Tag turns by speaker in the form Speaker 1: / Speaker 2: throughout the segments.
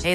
Speaker 1: Hey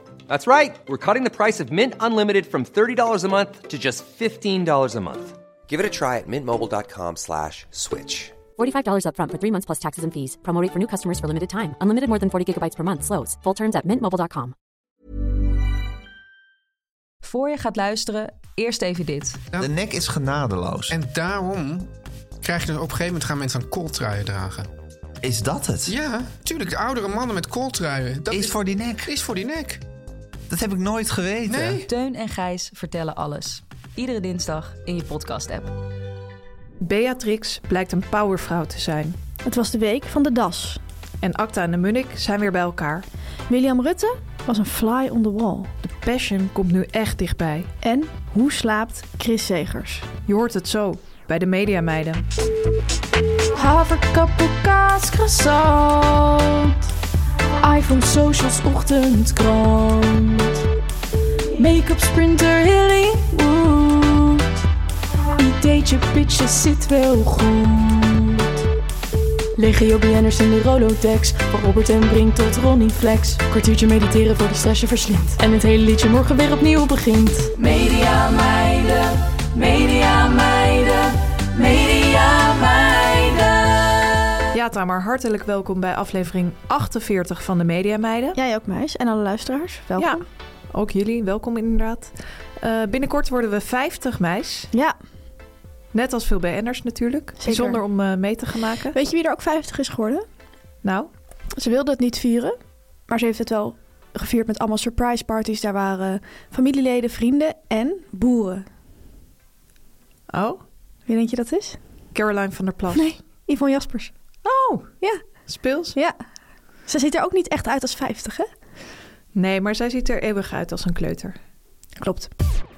Speaker 2: That's right. We're cutting the price of Mint Unlimited from $30 a month to just $15 a month. Give it a try at mintmobile.com slash switch.
Speaker 3: $45 upfront for three months plus taxes and fees. Promo rate for new customers for limited time. Unlimited more than 40 gigabytes per month. Slows. Full terms at mintmobile.com.
Speaker 4: Voor je gaat luisteren, eerst even dit.
Speaker 5: De nek is genadeloos. En
Speaker 6: En daarom krijg je dus op een gegeven moment gaan mensen aan kooltruien dragen.
Speaker 5: is dat het?
Speaker 6: Ja, tuurlijk. De oudere mannen met kooltruien. Dat
Speaker 5: Is voor die nek.
Speaker 6: Is voor die nek.
Speaker 5: Dat heb ik nooit geweten.
Speaker 6: Nee.
Speaker 4: Teun en Gijs vertellen alles. Iedere dinsdag in je podcast-app.
Speaker 7: Beatrix blijkt een powervrouw te zijn.
Speaker 8: Het was de week van de das.
Speaker 7: En Acta en de Munnik zijn weer bij elkaar.
Speaker 8: William Rutte was een fly on the wall.
Speaker 7: De passion komt nu echt dichtbij.
Speaker 8: En hoe slaapt Chris Segers?
Speaker 7: Je hoort het zo bij de Mediameiden.
Speaker 9: Haverkappelkaas, croissant. iPhone, socials, ochtendkrant. Make-up, sprinter, Hollywood. Ideetje, pitje, zit wel goed. Legio BN'ers in de Rolodex. Van Robert en Brink tot Ronnie Flex. Kwartiertje mediteren voor die stress je verslindt. En het hele liedje morgen weer opnieuw begint. Media meiden, media meiden, media meiden.
Speaker 7: Ja, Tamar, hartelijk welkom bij aflevering 48 van de Mediameiden.
Speaker 8: Jij ook, meis. En alle luisteraars, welkom.
Speaker 7: Ja, ook jullie, welkom inderdaad. Eh, binnenkort worden we 50 meis.
Speaker 8: Ja.
Speaker 7: Net als veel BN'ers natuurlijk.
Speaker 8: Zeker.
Speaker 7: Zonder om eh, mee te gaan maken.
Speaker 8: Weet je wie er ook 50 is geworden?
Speaker 7: Nou,
Speaker 8: Ze wilde het niet vieren, maar ze heeft het wel gevierd met allemaal surprise parties. Daar waren familieleden, vrienden en boeren.
Speaker 7: oh,
Speaker 8: Wie denk je dat is?
Speaker 7: Caroline van der Plas.
Speaker 8: Nee, Yvonne Jaspers.
Speaker 7: Oh,
Speaker 8: Ja,
Speaker 7: speels.
Speaker 8: ja. Ze ziet er ook niet echt uit als 50, hè?
Speaker 7: Nee, maar zij ziet er eeuwig uit als een kleuter.
Speaker 8: Klopt.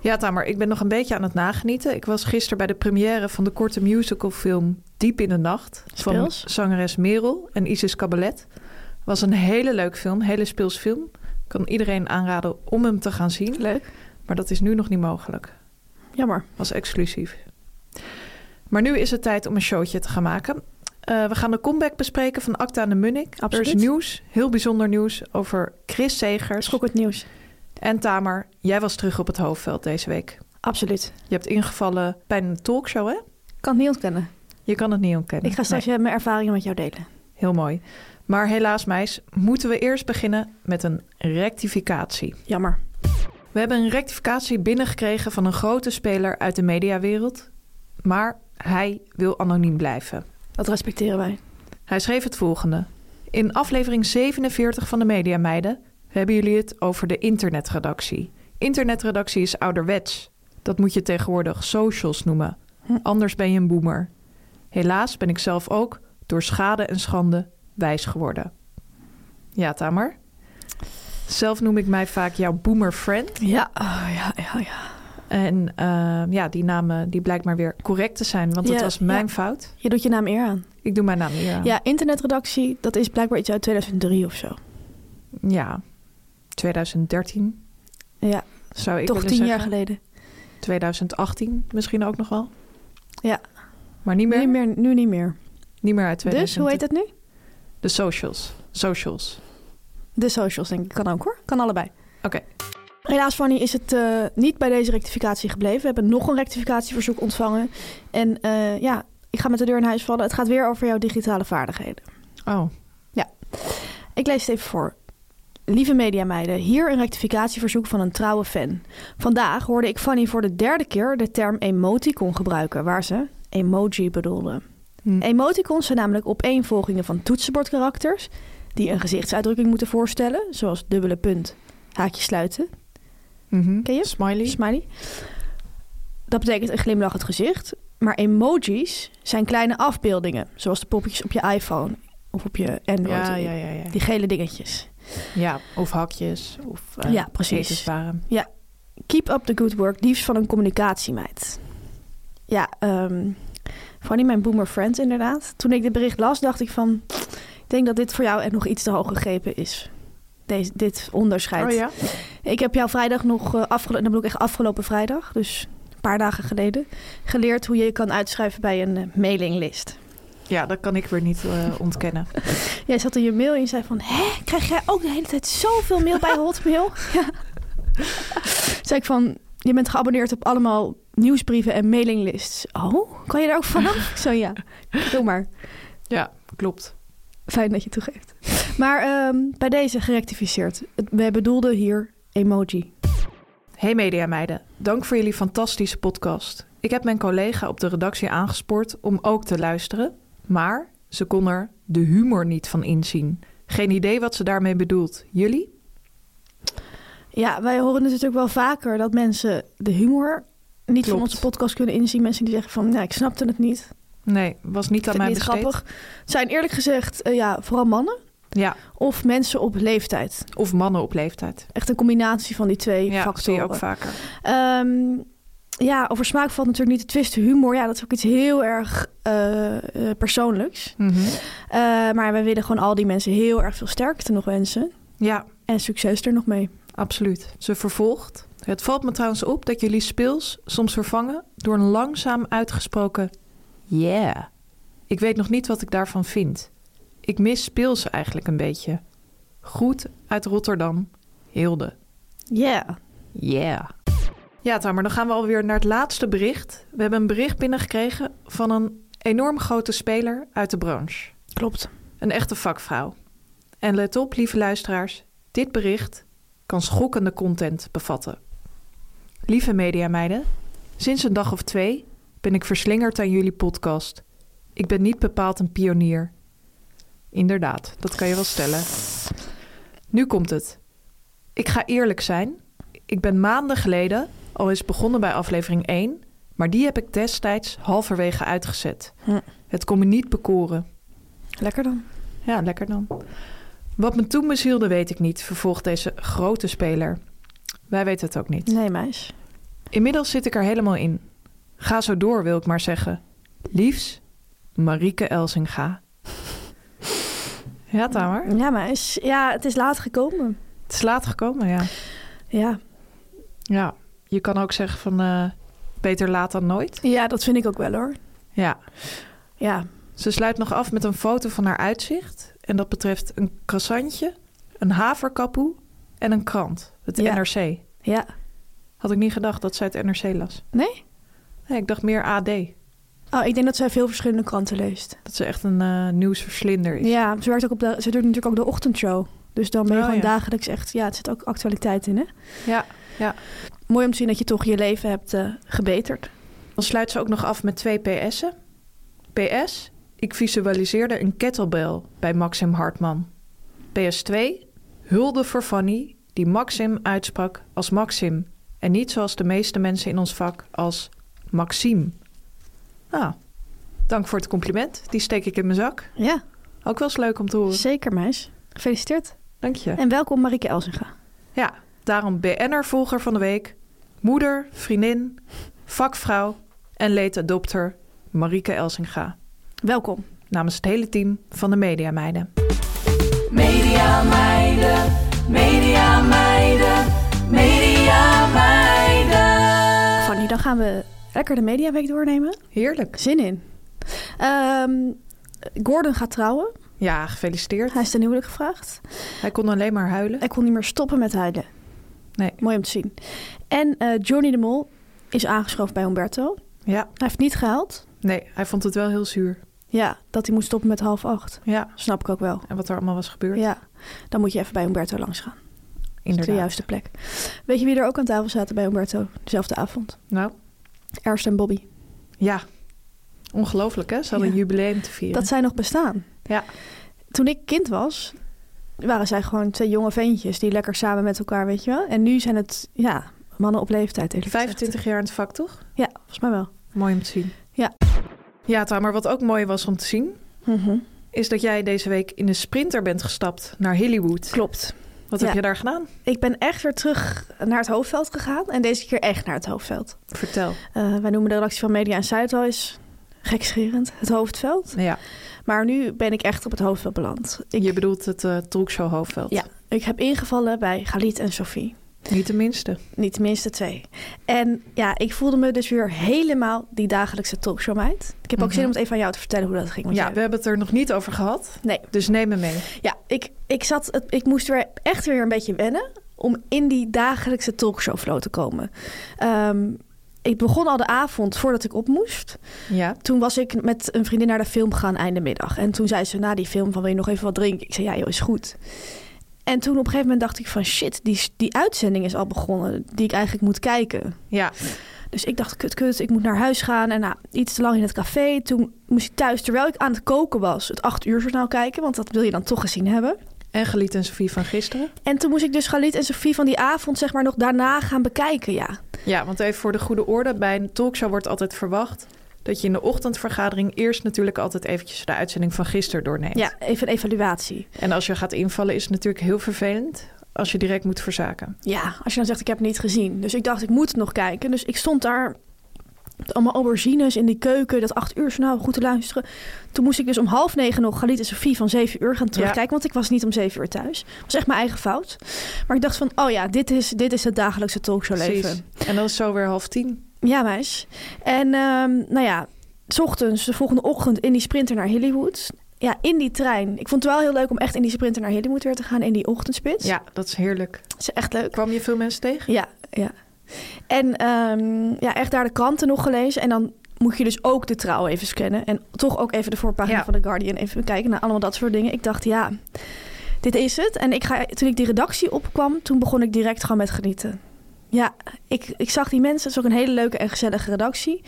Speaker 7: Ja, Tamer, ik ben nog een beetje aan het nagenieten. Ik was gisteren bij de première van de korte musicalfilm Diep in de Nacht.
Speaker 8: Speels.
Speaker 7: Van zangeres Merel en Isis Cabalet. Was een hele leuk film, hele speels film. Kan iedereen aanraden om hem te gaan zien.
Speaker 8: Leuk.
Speaker 7: Maar dat is nu nog niet mogelijk.
Speaker 8: Jammer.
Speaker 7: Was exclusief. Maar nu is het tijd om een showtje te gaan maken. Eh, we gaan de comeback bespreken van Acta en de Munnik.
Speaker 8: Absoluut.
Speaker 7: Er is nieuws, heel bijzonder nieuws, over Chris Segers.
Speaker 8: Schokkend nieuws.
Speaker 7: En Tamer, jij was terug op het hoofdveld deze week.
Speaker 8: Absoluut.
Speaker 7: Je hebt ingevallen bij een talkshow, hè?
Speaker 8: Kan het niet ontkennen.
Speaker 7: Je kan het niet ontkennen.
Speaker 8: Ik ga straks eh, mijn ervaringen met jou delen.
Speaker 7: Nee, heel mooi. Maar helaas, meis, moeten we eerst beginnen met een rectificatie.
Speaker 8: Jammer.
Speaker 7: We hebben een rectificatie binnengekregen van een grote speler uit de mediawereld. Maar hij wil anoniem blijven.
Speaker 8: Dat respecteren wij.
Speaker 7: Hij schreef het volgende. In aflevering 47 van de Media Meiden hebben jullie het over de internetredactie. Internetredactie is ouderwets. Dat moet je tegenwoordig socials noemen.
Speaker 8: Hm.
Speaker 7: Anders ben je een boomer. Helaas ben ik zelf ook door schade en schande wijs geworden. Ja, Tamer? Zelf noem ik mij vaak jouw boomer friend.
Speaker 8: Ja, oh, ja, ja, ja.
Speaker 7: En eh, ja, die naam eh, die blijkt maar weer correct te zijn, want dat
Speaker 8: Ja,
Speaker 7: was mijn
Speaker 8: ja.
Speaker 7: fout.
Speaker 8: Je doet je naam eer aan.
Speaker 7: Ik doe mijn naam hier aan.
Speaker 8: Ja, internetredactie, dat is blijkbaar iets uit 2003 of zo.
Speaker 7: Ja, 2013
Speaker 8: Ja,
Speaker 7: zou ik
Speaker 8: toch tien
Speaker 7: willen zeggen.
Speaker 8: jaar geleden.
Speaker 7: 2018 misschien ook nog wel.
Speaker 8: Ja.
Speaker 7: Maar niet meer,
Speaker 8: Nu,
Speaker 7: niet meer,
Speaker 8: meer, nu niet meer.
Speaker 7: uit 2020.
Speaker 8: Dus, hoe heet het nu?
Speaker 7: De socials. Socials.
Speaker 8: De socials, denk ik. Kan ook hoor. Kan allebei.
Speaker 7: Oké.
Speaker 8: Helaas, Fanny, is het eh, niet bij deze rectificatie gebleven. We hebben nog een rectificatieverzoek ontvangen. En eh, ja, ik ga met de deur in huis vallen. Het Oh. gaat weer over jouw digitale vaardigheden.
Speaker 7: Oh,
Speaker 8: Ik lees het even voor. Lieve mediameiden, hier een rectificatieverzoek van een trouwe fan. Vandaag hoorde ik Fanny voor de derde keer de term emoticon gebruiken, waar ze emoji bedoelde.
Speaker 7: Hm.
Speaker 8: Emoticons zijn namelijk opeenvolgingen van toetsenbordkarakters die een gezichtsuitdrukking moeten voorstellen, zoals dubbele punt, haakje sluiten,
Speaker 7: Mhm.
Speaker 8: Ken je?
Speaker 7: Smiley.
Speaker 8: smiley. Dat betekent een glimlachend gezicht, maar emojis zijn kleine afbeeldingen, zoals de poppetjes op je iPhone of op je Android.
Speaker 7: ja, ja, ja, ja.
Speaker 8: Die gele dingetjes.
Speaker 7: Ja, of hakjes. Of, eh,
Speaker 8: Ja, precies.
Speaker 7: etenswaren.
Speaker 8: Keep up the good work, liefst van een communicatiemeid. Ja, ehm Fanny, mijn boomer friend inderdaad. Toen ik dit bericht las, dacht ik van... Ik denk dat dit voor jou echt nog iets te hoog gegrepen is. Deze, dit onderscheid.
Speaker 7: Oh ja?
Speaker 8: Ik heb jou vrijdag nog, eh, afgelo- en dan bedoel ik echt afgelopen vrijdag, dus een paar dagen geleden, geleerd hoe je je kan uitschrijven bij een eh, mailinglist.
Speaker 7: Ja, dat kan ik weer niet eh, ontkennen.
Speaker 8: Jij zat in je mail en je zei van, hè, krijg jij ook de hele tijd zoveel mail bij Hotmail? ja. zei ik van, je bent geabonneerd op allemaal nieuwsbrieven en mailinglists. Oh, kan je daar ook vanaf? Ik zo, ja, doe maar.
Speaker 7: Ja, klopt.
Speaker 8: Fijn dat je het toegeeft. Maar ehm, bij deze gerectificeerd. Het- Wij bedoelden hier emoji.
Speaker 7: Hey mediameiden, dank voor jullie fantastische podcast. Ik heb mijn collega op de redactie aangespoord om ook te luisteren, maar ze kon er de humor niet van inzien. Geen idee wat ze daarmee bedoelt. Jullie?
Speaker 8: Ja, wij horen het natuurlijk wel vaker dat mensen de humor niet van
Speaker 7: Klopt.
Speaker 8: onze podcast kunnen inzien. Mensen die zeggen van, nou, ik snapte het niet. Ik
Speaker 7: Nee, was niet aan
Speaker 8: vind het
Speaker 7: mij
Speaker 8: niet
Speaker 7: besteed.
Speaker 8: grappig. Het zijn eerlijk gezegd, eh, ja, vooral mannen
Speaker 7: Ja,
Speaker 8: of mensen op leeftijd.
Speaker 7: of mannen op leeftijd.
Speaker 8: Echt een combinatie van die twee
Speaker 7: Ja, dat zie
Speaker 8: factoren.
Speaker 7: je ook vaker.
Speaker 8: Ehm, ja, over smaak valt natuurlijk niet te twisten. Humor, ja, dat is ook iets heel erg eh, eh, persoonlijks.
Speaker 7: Mhm.
Speaker 8: Eh, maar wij willen gewoon al die mensen heel erg veel sterkte nog wensen.
Speaker 7: Ja,
Speaker 8: En succes er nog mee.
Speaker 7: Absoluut. Ze vervolgt. Het valt me trouwens op dat jullie speels soms vervangen door een langzaam uitgesproken yeah. Ik weet nog niet wat ik daarvan vind. Ik mis speels eigenlijk een beetje. Groet uit Rotterdam, Hilde.
Speaker 8: Ja.
Speaker 7: Yeah. Ja, Tamer, dan gaan we alweer naar het laatste bericht. We hebben een bericht binnengekregen van een enorm grote speler uit de branche.
Speaker 8: Klopt.
Speaker 7: Een echte vakvrouw. En let op, lieve luisteraars, dit bericht kan schokkende content bevatten. Lieve mediameiden, sinds een dag of twee ben ik verslingerd aan jullie podcast. Ik ben niet bepaald een pionier. Inderdaad, dat kan je wel stellen. Nu komt het. Ik ga eerlijk zijn. Ik ben maanden geleden al eens begonnen bij aflevering 1, maar die heb ik destijds halverwege uitgezet.
Speaker 8: Hm.
Speaker 7: Het kon me niet bekoren.
Speaker 8: Lekker dan.
Speaker 7: Ja, lekker dan. Wat me toen bezielde, weet ik niet, vervolgt deze grote speler. Wij weten het ook niet.
Speaker 8: Nee, meis.
Speaker 7: Inmiddels zit ik er helemaal in. Ga zo door, wil ik maar zeggen. Liefs, Marieke Elsinga. Ja, Tamer.
Speaker 8: Ja, meis. Ja, het is laat gekomen.
Speaker 7: Het is laat gekomen, ja.
Speaker 8: Ja.
Speaker 7: Ja, je kan ook zeggen van eh, beter laat dan nooit.
Speaker 8: ja, dat vind ik ook wel hoor.
Speaker 7: Ja,
Speaker 8: Ja,
Speaker 7: Ze sluit nog af met een foto van haar uitzicht. En dat betreft een croissantje, een haverkapoe en een krant. Het
Speaker 8: Ja.
Speaker 7: NRC.
Speaker 8: ja.
Speaker 7: Had ik niet gedacht dat zij het NRC las.
Speaker 8: Nee?
Speaker 7: Nee, ik dacht meer AD.
Speaker 8: Oh, ik denk dat zij veel verschillende kranten leest.
Speaker 7: Dat ze echt een eh, nieuwsverslinder is.
Speaker 8: Ja, ze, werkt ook op de, ze doet natuurlijk ook de ochtendshow. Dus dan ben je
Speaker 7: Oh,
Speaker 8: gewoon
Speaker 7: ja.
Speaker 8: dagelijks echt... Ja, het zit ook actualiteit in, hè?
Speaker 7: Ja, ja.
Speaker 8: Mooi om te zien dat je toch je leven hebt eh, gebeterd.
Speaker 7: Dan sluit ze ook nog af met twee PS'en. PS, ik visualiseerde een kettlebell bij Maxim Hartman. PS2, hulde voor Fanny, die Maxim uitsprak als Maxim. En niet zoals de meeste mensen in ons vak als Maxime. Nou, dank voor het compliment. Die steek ik in mijn zak.
Speaker 8: Ja,
Speaker 7: Ook wel eens leuk om te horen.
Speaker 8: zeker, meis. Gefeliciteerd.
Speaker 7: Dank je.
Speaker 8: En welkom, Marieke Elsinga.
Speaker 7: Ja, daarom BN'er-volger van de week. Moeder, vriendin, vakvrouw en leedadopter Marieke Elsinga.
Speaker 8: Welkom.
Speaker 7: namens het hele team van de Media Meiden.
Speaker 9: Media meiden, media meiden, media meiden.
Speaker 8: Fanny, dan gaan we lekker de Mediaweek doornemen.
Speaker 7: Heerlijk.
Speaker 8: Zin in. Ehm, Gordon gaat trouwen.
Speaker 7: Ja, gefeliciteerd.
Speaker 8: Hij is ten huwelijk gevraagd.
Speaker 7: Hij kon alleen maar huilen.
Speaker 8: Ik kon niet meer stoppen met huilen.
Speaker 7: Nee.
Speaker 8: Mooi om te zien. En eh, Johnny de Mol is aangeschoven bij Humberto.
Speaker 7: Ja,
Speaker 8: Hij heeft niet gehaald.
Speaker 7: nee, hij vond het wel heel zuur.
Speaker 8: Ja, dat hij moet stoppen met half acht.
Speaker 7: Ja,
Speaker 8: Snap ik ook wel.
Speaker 7: en wat er allemaal was gebeurd.
Speaker 8: Ja. dan moet je even bij Umberto langs gaan.
Speaker 7: Inderdaad.
Speaker 8: De juiste plek. Weet je wie er ook aan tafel zaten bij Umberto dezelfde avond?
Speaker 7: Nou,
Speaker 8: Ernst en Bobby.
Speaker 7: ja. Ongelooflijk, hè? Ze hadden
Speaker 8: Ja.
Speaker 7: een jubileum te vieren.
Speaker 8: Dat zij nog bestaan.
Speaker 7: Ja.
Speaker 8: Toen ik kind was, waren zij gewoon twee jonge ventjes die lekker samen met elkaar, weet je wel. En nu zijn het, ja, mannen op leeftijd. eerlijk gezegd.
Speaker 7: 25 jaar in het vak, toch?
Speaker 8: Ja, volgens mij wel.
Speaker 7: Mooi om te zien.
Speaker 8: Ja.
Speaker 7: Ja, Tamer, wat ook mooi was om te zien...
Speaker 8: Mhm.
Speaker 7: is dat jij deze week in de sprinter bent gestapt naar Hollywood.
Speaker 8: Klopt.
Speaker 7: Wat
Speaker 8: Ja.
Speaker 7: heb je daar gedaan?
Speaker 8: Ik ben echt weer terug naar het hoofdveld gegaan. En deze keer echt naar het hoofdveld.
Speaker 7: Vertel.
Speaker 8: Eh, wij noemen de redactie van Media en Zuidhuis, gekscherend, het hoofdveld.
Speaker 7: Ja,
Speaker 8: Maar nu ben ik echt op het hoofdveld beland. Ik,
Speaker 7: je bedoelt het eh talkshow hoofdveld.
Speaker 8: Ja. ik heb ingevallen bij Galit en Sophie.
Speaker 7: Niet de minste.
Speaker 8: Niet tenminste twee. En ja, ik voelde me dus weer helemaal die dagelijkse talkshowmeid. Ik heb ook zin om het even aan jou te vertellen hoe dat ging.
Speaker 7: Mhm.
Speaker 8: want
Speaker 7: Ja,
Speaker 8: jij-
Speaker 7: we hebben het er nog niet over gehad.
Speaker 8: Nee,
Speaker 7: Dus neem me mee.
Speaker 8: ja, ik, ik, zat, het- ik moest weer echt weer een beetje wennen om in die dagelijkse talkshow flow te komen. Ehm, ik begon al de avond voordat ik op moest.
Speaker 7: Ja.
Speaker 8: Toen was ik met een vriendin naar de film gegaan einde middag. En toen zei ze na die film van wil je nog even wat drinken? Ik zei ja joh, is goed. En toen op een gegeven moment dacht ik van shit, die, die uitzending is al begonnen. Die ik eigenlijk moet kijken.
Speaker 7: Ja.
Speaker 8: Dus ik dacht, kut, kut, ik moet naar huis gaan. En nou, iets te lang in het café. Toen moest ik thuis, terwijl ik aan het koken was, het acht uur journaal kijken. Want dat wil je dan toch gezien hebben.
Speaker 7: En Geliet en Sofie van gisteren.
Speaker 8: En toen moest ik dus Galit en Sophie van die avond zeg maar nog daarna gaan bekijken, ja.
Speaker 7: Ja, want even voor de goede orde. Bij een talkshow wordt altijd verwacht dat je in de ochtendvergadering eerst natuurlijk altijd eventjes de uitzending van gisteren doorneemt.
Speaker 8: Ja, even een evaluatie.
Speaker 7: En als je gaat invallen is het natuurlijk heel vervelend als je direct moet verzaken.
Speaker 8: Ja, als je dan zegt, ik heb het niet gezien. Dus ik dacht, ik moet het nog kijken. Dus ik stond daar met allemaal aubergines in die keuken, dat acht uur journaal goed te luisteren. Toen moest ik dus om half negen nog Galit en Sophie van zeven uur gaan terugkijken, want ik was niet om zeven uur thuis. was echt mijn eigen fout. Maar ik dacht van, oh ja, dit is, dit is het dagelijkse talkshowleven.
Speaker 7: En dan is zo weer half tien.
Speaker 8: Ja, meis. En ehm, nou ja, 's ochtends, de volgende ochtend in die sprinter naar Hollywood. Ja, in die trein. Ik vond het wel heel leuk om echt in die sprinter naar Hollywood weer te gaan in die ochtendspits.
Speaker 7: Ja, dat is heerlijk.
Speaker 8: Dat is echt leuk.
Speaker 7: Kwam je veel mensen tegen?
Speaker 8: Ja, ja. En ehm, ja, echt daar de kranten nog gelezen. En dan moet je dus ook de trouw even scannen. En toch ook even de voorpagina
Speaker 7: Ja.
Speaker 8: van The Guardian even bekijken. Nou, allemaal dat soort dingen. Ik dacht, ja, dit is het. En ik ga, toen ik die redactie opkwam, toen begon ik direct gewoon met genieten. Ja, ik, ik zag die mensen. Het is ook een hele leuke en gezellige redactie.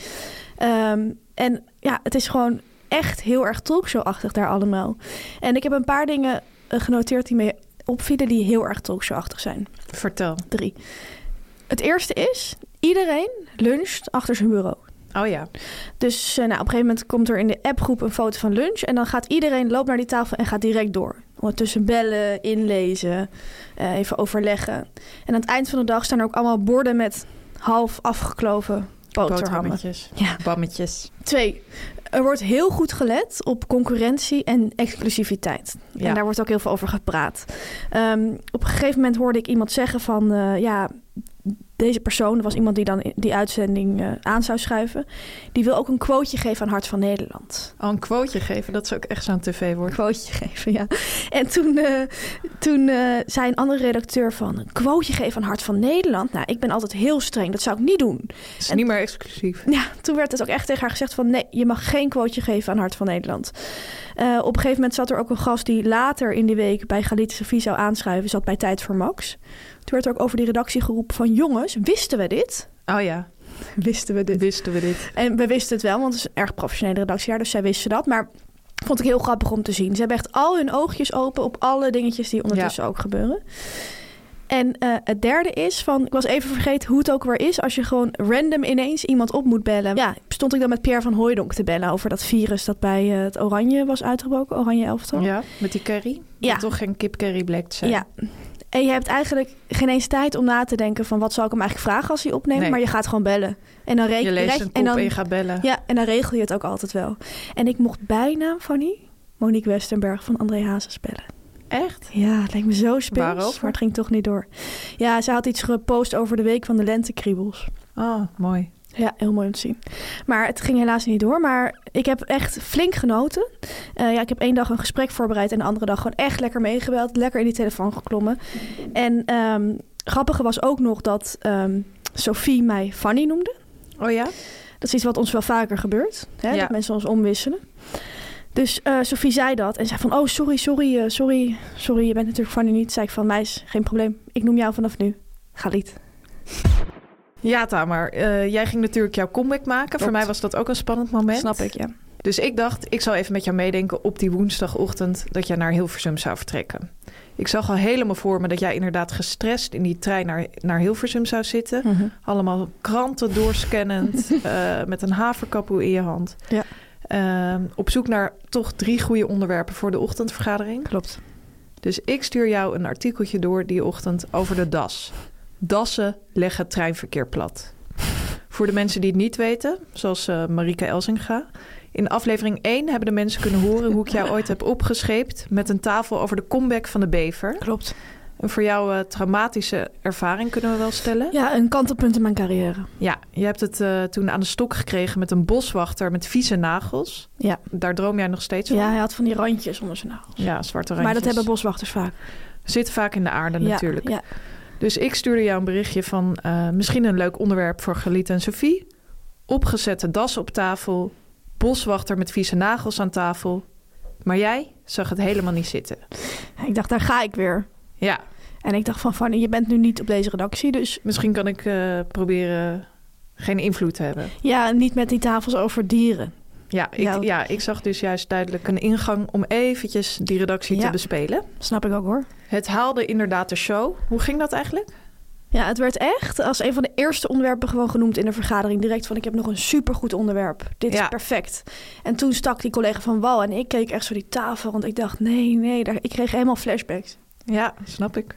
Speaker 8: Ehm, en ja, het is gewoon echt heel erg talkshow-achtig daar allemaal. En ik heb een paar dingen eh, genoteerd die me opvielen die heel erg talkshow-achtig zijn
Speaker 7: Vertel.
Speaker 8: drie. Het eerste is, iedereen luncht achter zijn bureau.
Speaker 7: Oh ja.
Speaker 8: Dus eh, nou, op een gegeven moment komt er in de appgroep een foto van lunch. En dan gaat iedereen, loopt naar die tafel en gaat direct door. Ondertussen bellen, inlezen, eh, even overleggen. En aan het eind van de dag staan er ook allemaal borden met half afgekloven boterhammen.
Speaker 7: Boterhammetjes.
Speaker 8: Ja.
Speaker 7: Bammetjes.
Speaker 8: Twee, er wordt heel goed gelet op concurrentie en exclusiviteit.
Speaker 7: Ja.
Speaker 8: En daar wordt ook heel veel over gepraat. Ehm, op een gegeven moment hoorde ik iemand zeggen van... eh, ja, deze persoon, er was iemand die dan in die uitzending eh, aan zou schuiven... die wil ook een quoteje geven aan Hart van Nederland.
Speaker 7: Al een quoteje geven, dat is ook echt zo'n tv-woord.
Speaker 8: Een quoteje geven, ja. En toen, eh, toen eh, zei een andere redacteur van... een quoteje geven aan Hart van Nederland? Nou, ik ben altijd heel streng, dat zou ik niet doen.
Speaker 7: Het is
Speaker 8: En-
Speaker 7: niet meer exclusief.
Speaker 8: Ja, toen werd het ook echt tegen haar gezegd van... nee, je mag geen quoteje geven aan Hart van Nederland. Eh, op een gegeven moment zat er ook een gast die later in de week... bij Galit Sofie zou aanschuiven, zat bij Tijd voor Max. Toen werd er ook over die redactie geroepen van... jongens, wisten we dit?
Speaker 7: Oh ja,
Speaker 8: Wisten we
Speaker 7: wisten we dit.
Speaker 8: En we wisten het wel, want het is een erg professionele redactie... daar, dus zij wisten dat, maar... Vond ik heel grappig om te zien. Ze hebben echt al hun oogjes open op alle dingetjes die ondertussen ook gebeuren. En eh, het derde is van, ik was even vergeten hoe het ook weer is, als je gewoon random ineens iemand op moet bellen. Ja, stond ik dan met Pierre van Hooijdonk te bellen over dat virus dat bij eh, het Oranje was uitgebroken, Oranje elftal.
Speaker 7: Ja, met die curry.
Speaker 8: Ja.
Speaker 7: Dat toch geen kip curry bleek te zijn.
Speaker 8: Ja. En je hebt eigenlijk geen eens tijd om na te denken van wat zal ik hem eigenlijk vragen als hij opneemt,
Speaker 7: Nee.
Speaker 8: maar je gaat gewoon bellen. En dan
Speaker 7: Je
Speaker 8: reken
Speaker 7: leest een kop en,
Speaker 8: en dan
Speaker 7: je gaat bellen.
Speaker 8: ja, en dan regel je het ook altijd wel. En ik mocht bijna Fanny Monique Westenberg van André Hazes bellen.
Speaker 7: Echt?
Speaker 8: Ja, het lijkt me zo
Speaker 7: Waarover?
Speaker 8: spits, maar het ging toch niet door. Ja, ze had iets gepost over de week van de lentekriebels.
Speaker 7: Oh, mooi.
Speaker 8: Ja, heel mooi om te zien. Maar het ging helaas niet door. Maar ik heb echt flink genoten. Eh, ja, ik heb één dag een gesprek voorbereid en de andere dag gewoon echt lekker meegebeld. Lekker in die telefoon geklommen. En ehm grappige was ook nog dat ehm Sophie mij Fanny noemde.
Speaker 7: Oh ja?
Speaker 8: Dat is iets wat ons wel vaker gebeurt. Hè?
Speaker 7: Ja.
Speaker 8: Dat mensen ons omwisselen. Dus eh Sophie zei dat en zei van, oh sorry, sorry, eh, sorry, sorry, je bent natuurlijk Fanny niet. Zei ik van, meis, geen probleem, ik noem jou vanaf nu. Galit.
Speaker 7: Ja, Tamar, eh, jij ging natuurlijk jouw comeback maken. Voor mij was dat ook een spannend moment.
Speaker 8: Snap ik, ja.
Speaker 7: Dus ik dacht, ik zal even met jou meedenken op die woensdagochtend dat jij naar Hilversum zou vertrekken. Ik zag al helemaal voor me dat jij inderdaad gestrest in die trein naar, naar Hilversum zou zitten.
Speaker 8: Mhm.
Speaker 7: Allemaal kranten doorscannend, eh, met een haverkapoe in je hand.
Speaker 8: Ja.
Speaker 7: Ehm, op zoek naar toch drie goede onderwerpen voor de ochtendvergadering.
Speaker 8: Klopt.
Speaker 7: Dus ik stuur jou een artikeltje door die ochtend over de DAS. Dassen leggen treinverkeer plat. Voor de mensen die het niet weten, zoals eh Marika Elzinga. In aflevering 1 hebben de mensen kunnen horen hoe ik jou ooit heb opgescheept... met een tafel over de comeback van de bever.
Speaker 8: Klopt.
Speaker 7: Een voor jou eh, traumatische ervaring, kunnen we wel stellen.
Speaker 8: Ja, een kantelpunt in mijn carrière.
Speaker 7: Ja, je hebt het eh, toen aan de stok gekregen met een boswachter met vieze nagels.
Speaker 8: Ja.
Speaker 7: Daar droom jij nog steeds van?
Speaker 8: Ja, hij had van die randjes onder zijn nagels.
Speaker 7: ja zwarte randjes.
Speaker 8: Maar dat hebben boswachters vaak.
Speaker 7: Zit vaak in de aarde
Speaker 8: Ja,
Speaker 7: natuurlijk.
Speaker 8: Ja,
Speaker 7: Dus ik stuurde jou een berichtje van eh, misschien een leuk onderwerp voor Galit en Sophie. Opgezette das op tafel, boswachter met vieze nagels aan tafel. Maar jij zag het helemaal niet zitten.
Speaker 8: Ik dacht, daar ga ik weer.
Speaker 7: Ja,
Speaker 8: En ik dacht van, Fanny, je bent nu niet op deze redactie, dus
Speaker 7: misschien kan ik eh, proberen geen invloed te hebben.
Speaker 8: ja, niet met die tafels over dieren.
Speaker 7: Ja ik,
Speaker 8: Ja.
Speaker 7: ja. ik zag dus juist duidelijk een ingang om eventjes die redactie
Speaker 8: Ja.
Speaker 7: te bespelen.
Speaker 8: Snap ik ook hoor.
Speaker 7: Het haalde inderdaad de show. Hoe ging dat eigenlijk?
Speaker 8: Ja, het werd echt als een van de eerste onderwerpen gewoon genoemd in de vergadering. Direct van, ik heb nog een supergoed onderwerp. Dit is
Speaker 7: Ja.
Speaker 8: perfect. En toen stak die collega van wal en ik keek echt zo die tafel. Want ik dacht, nee, nee, daar, ik kreeg helemaal flashbacks.
Speaker 7: Ja, snap ik.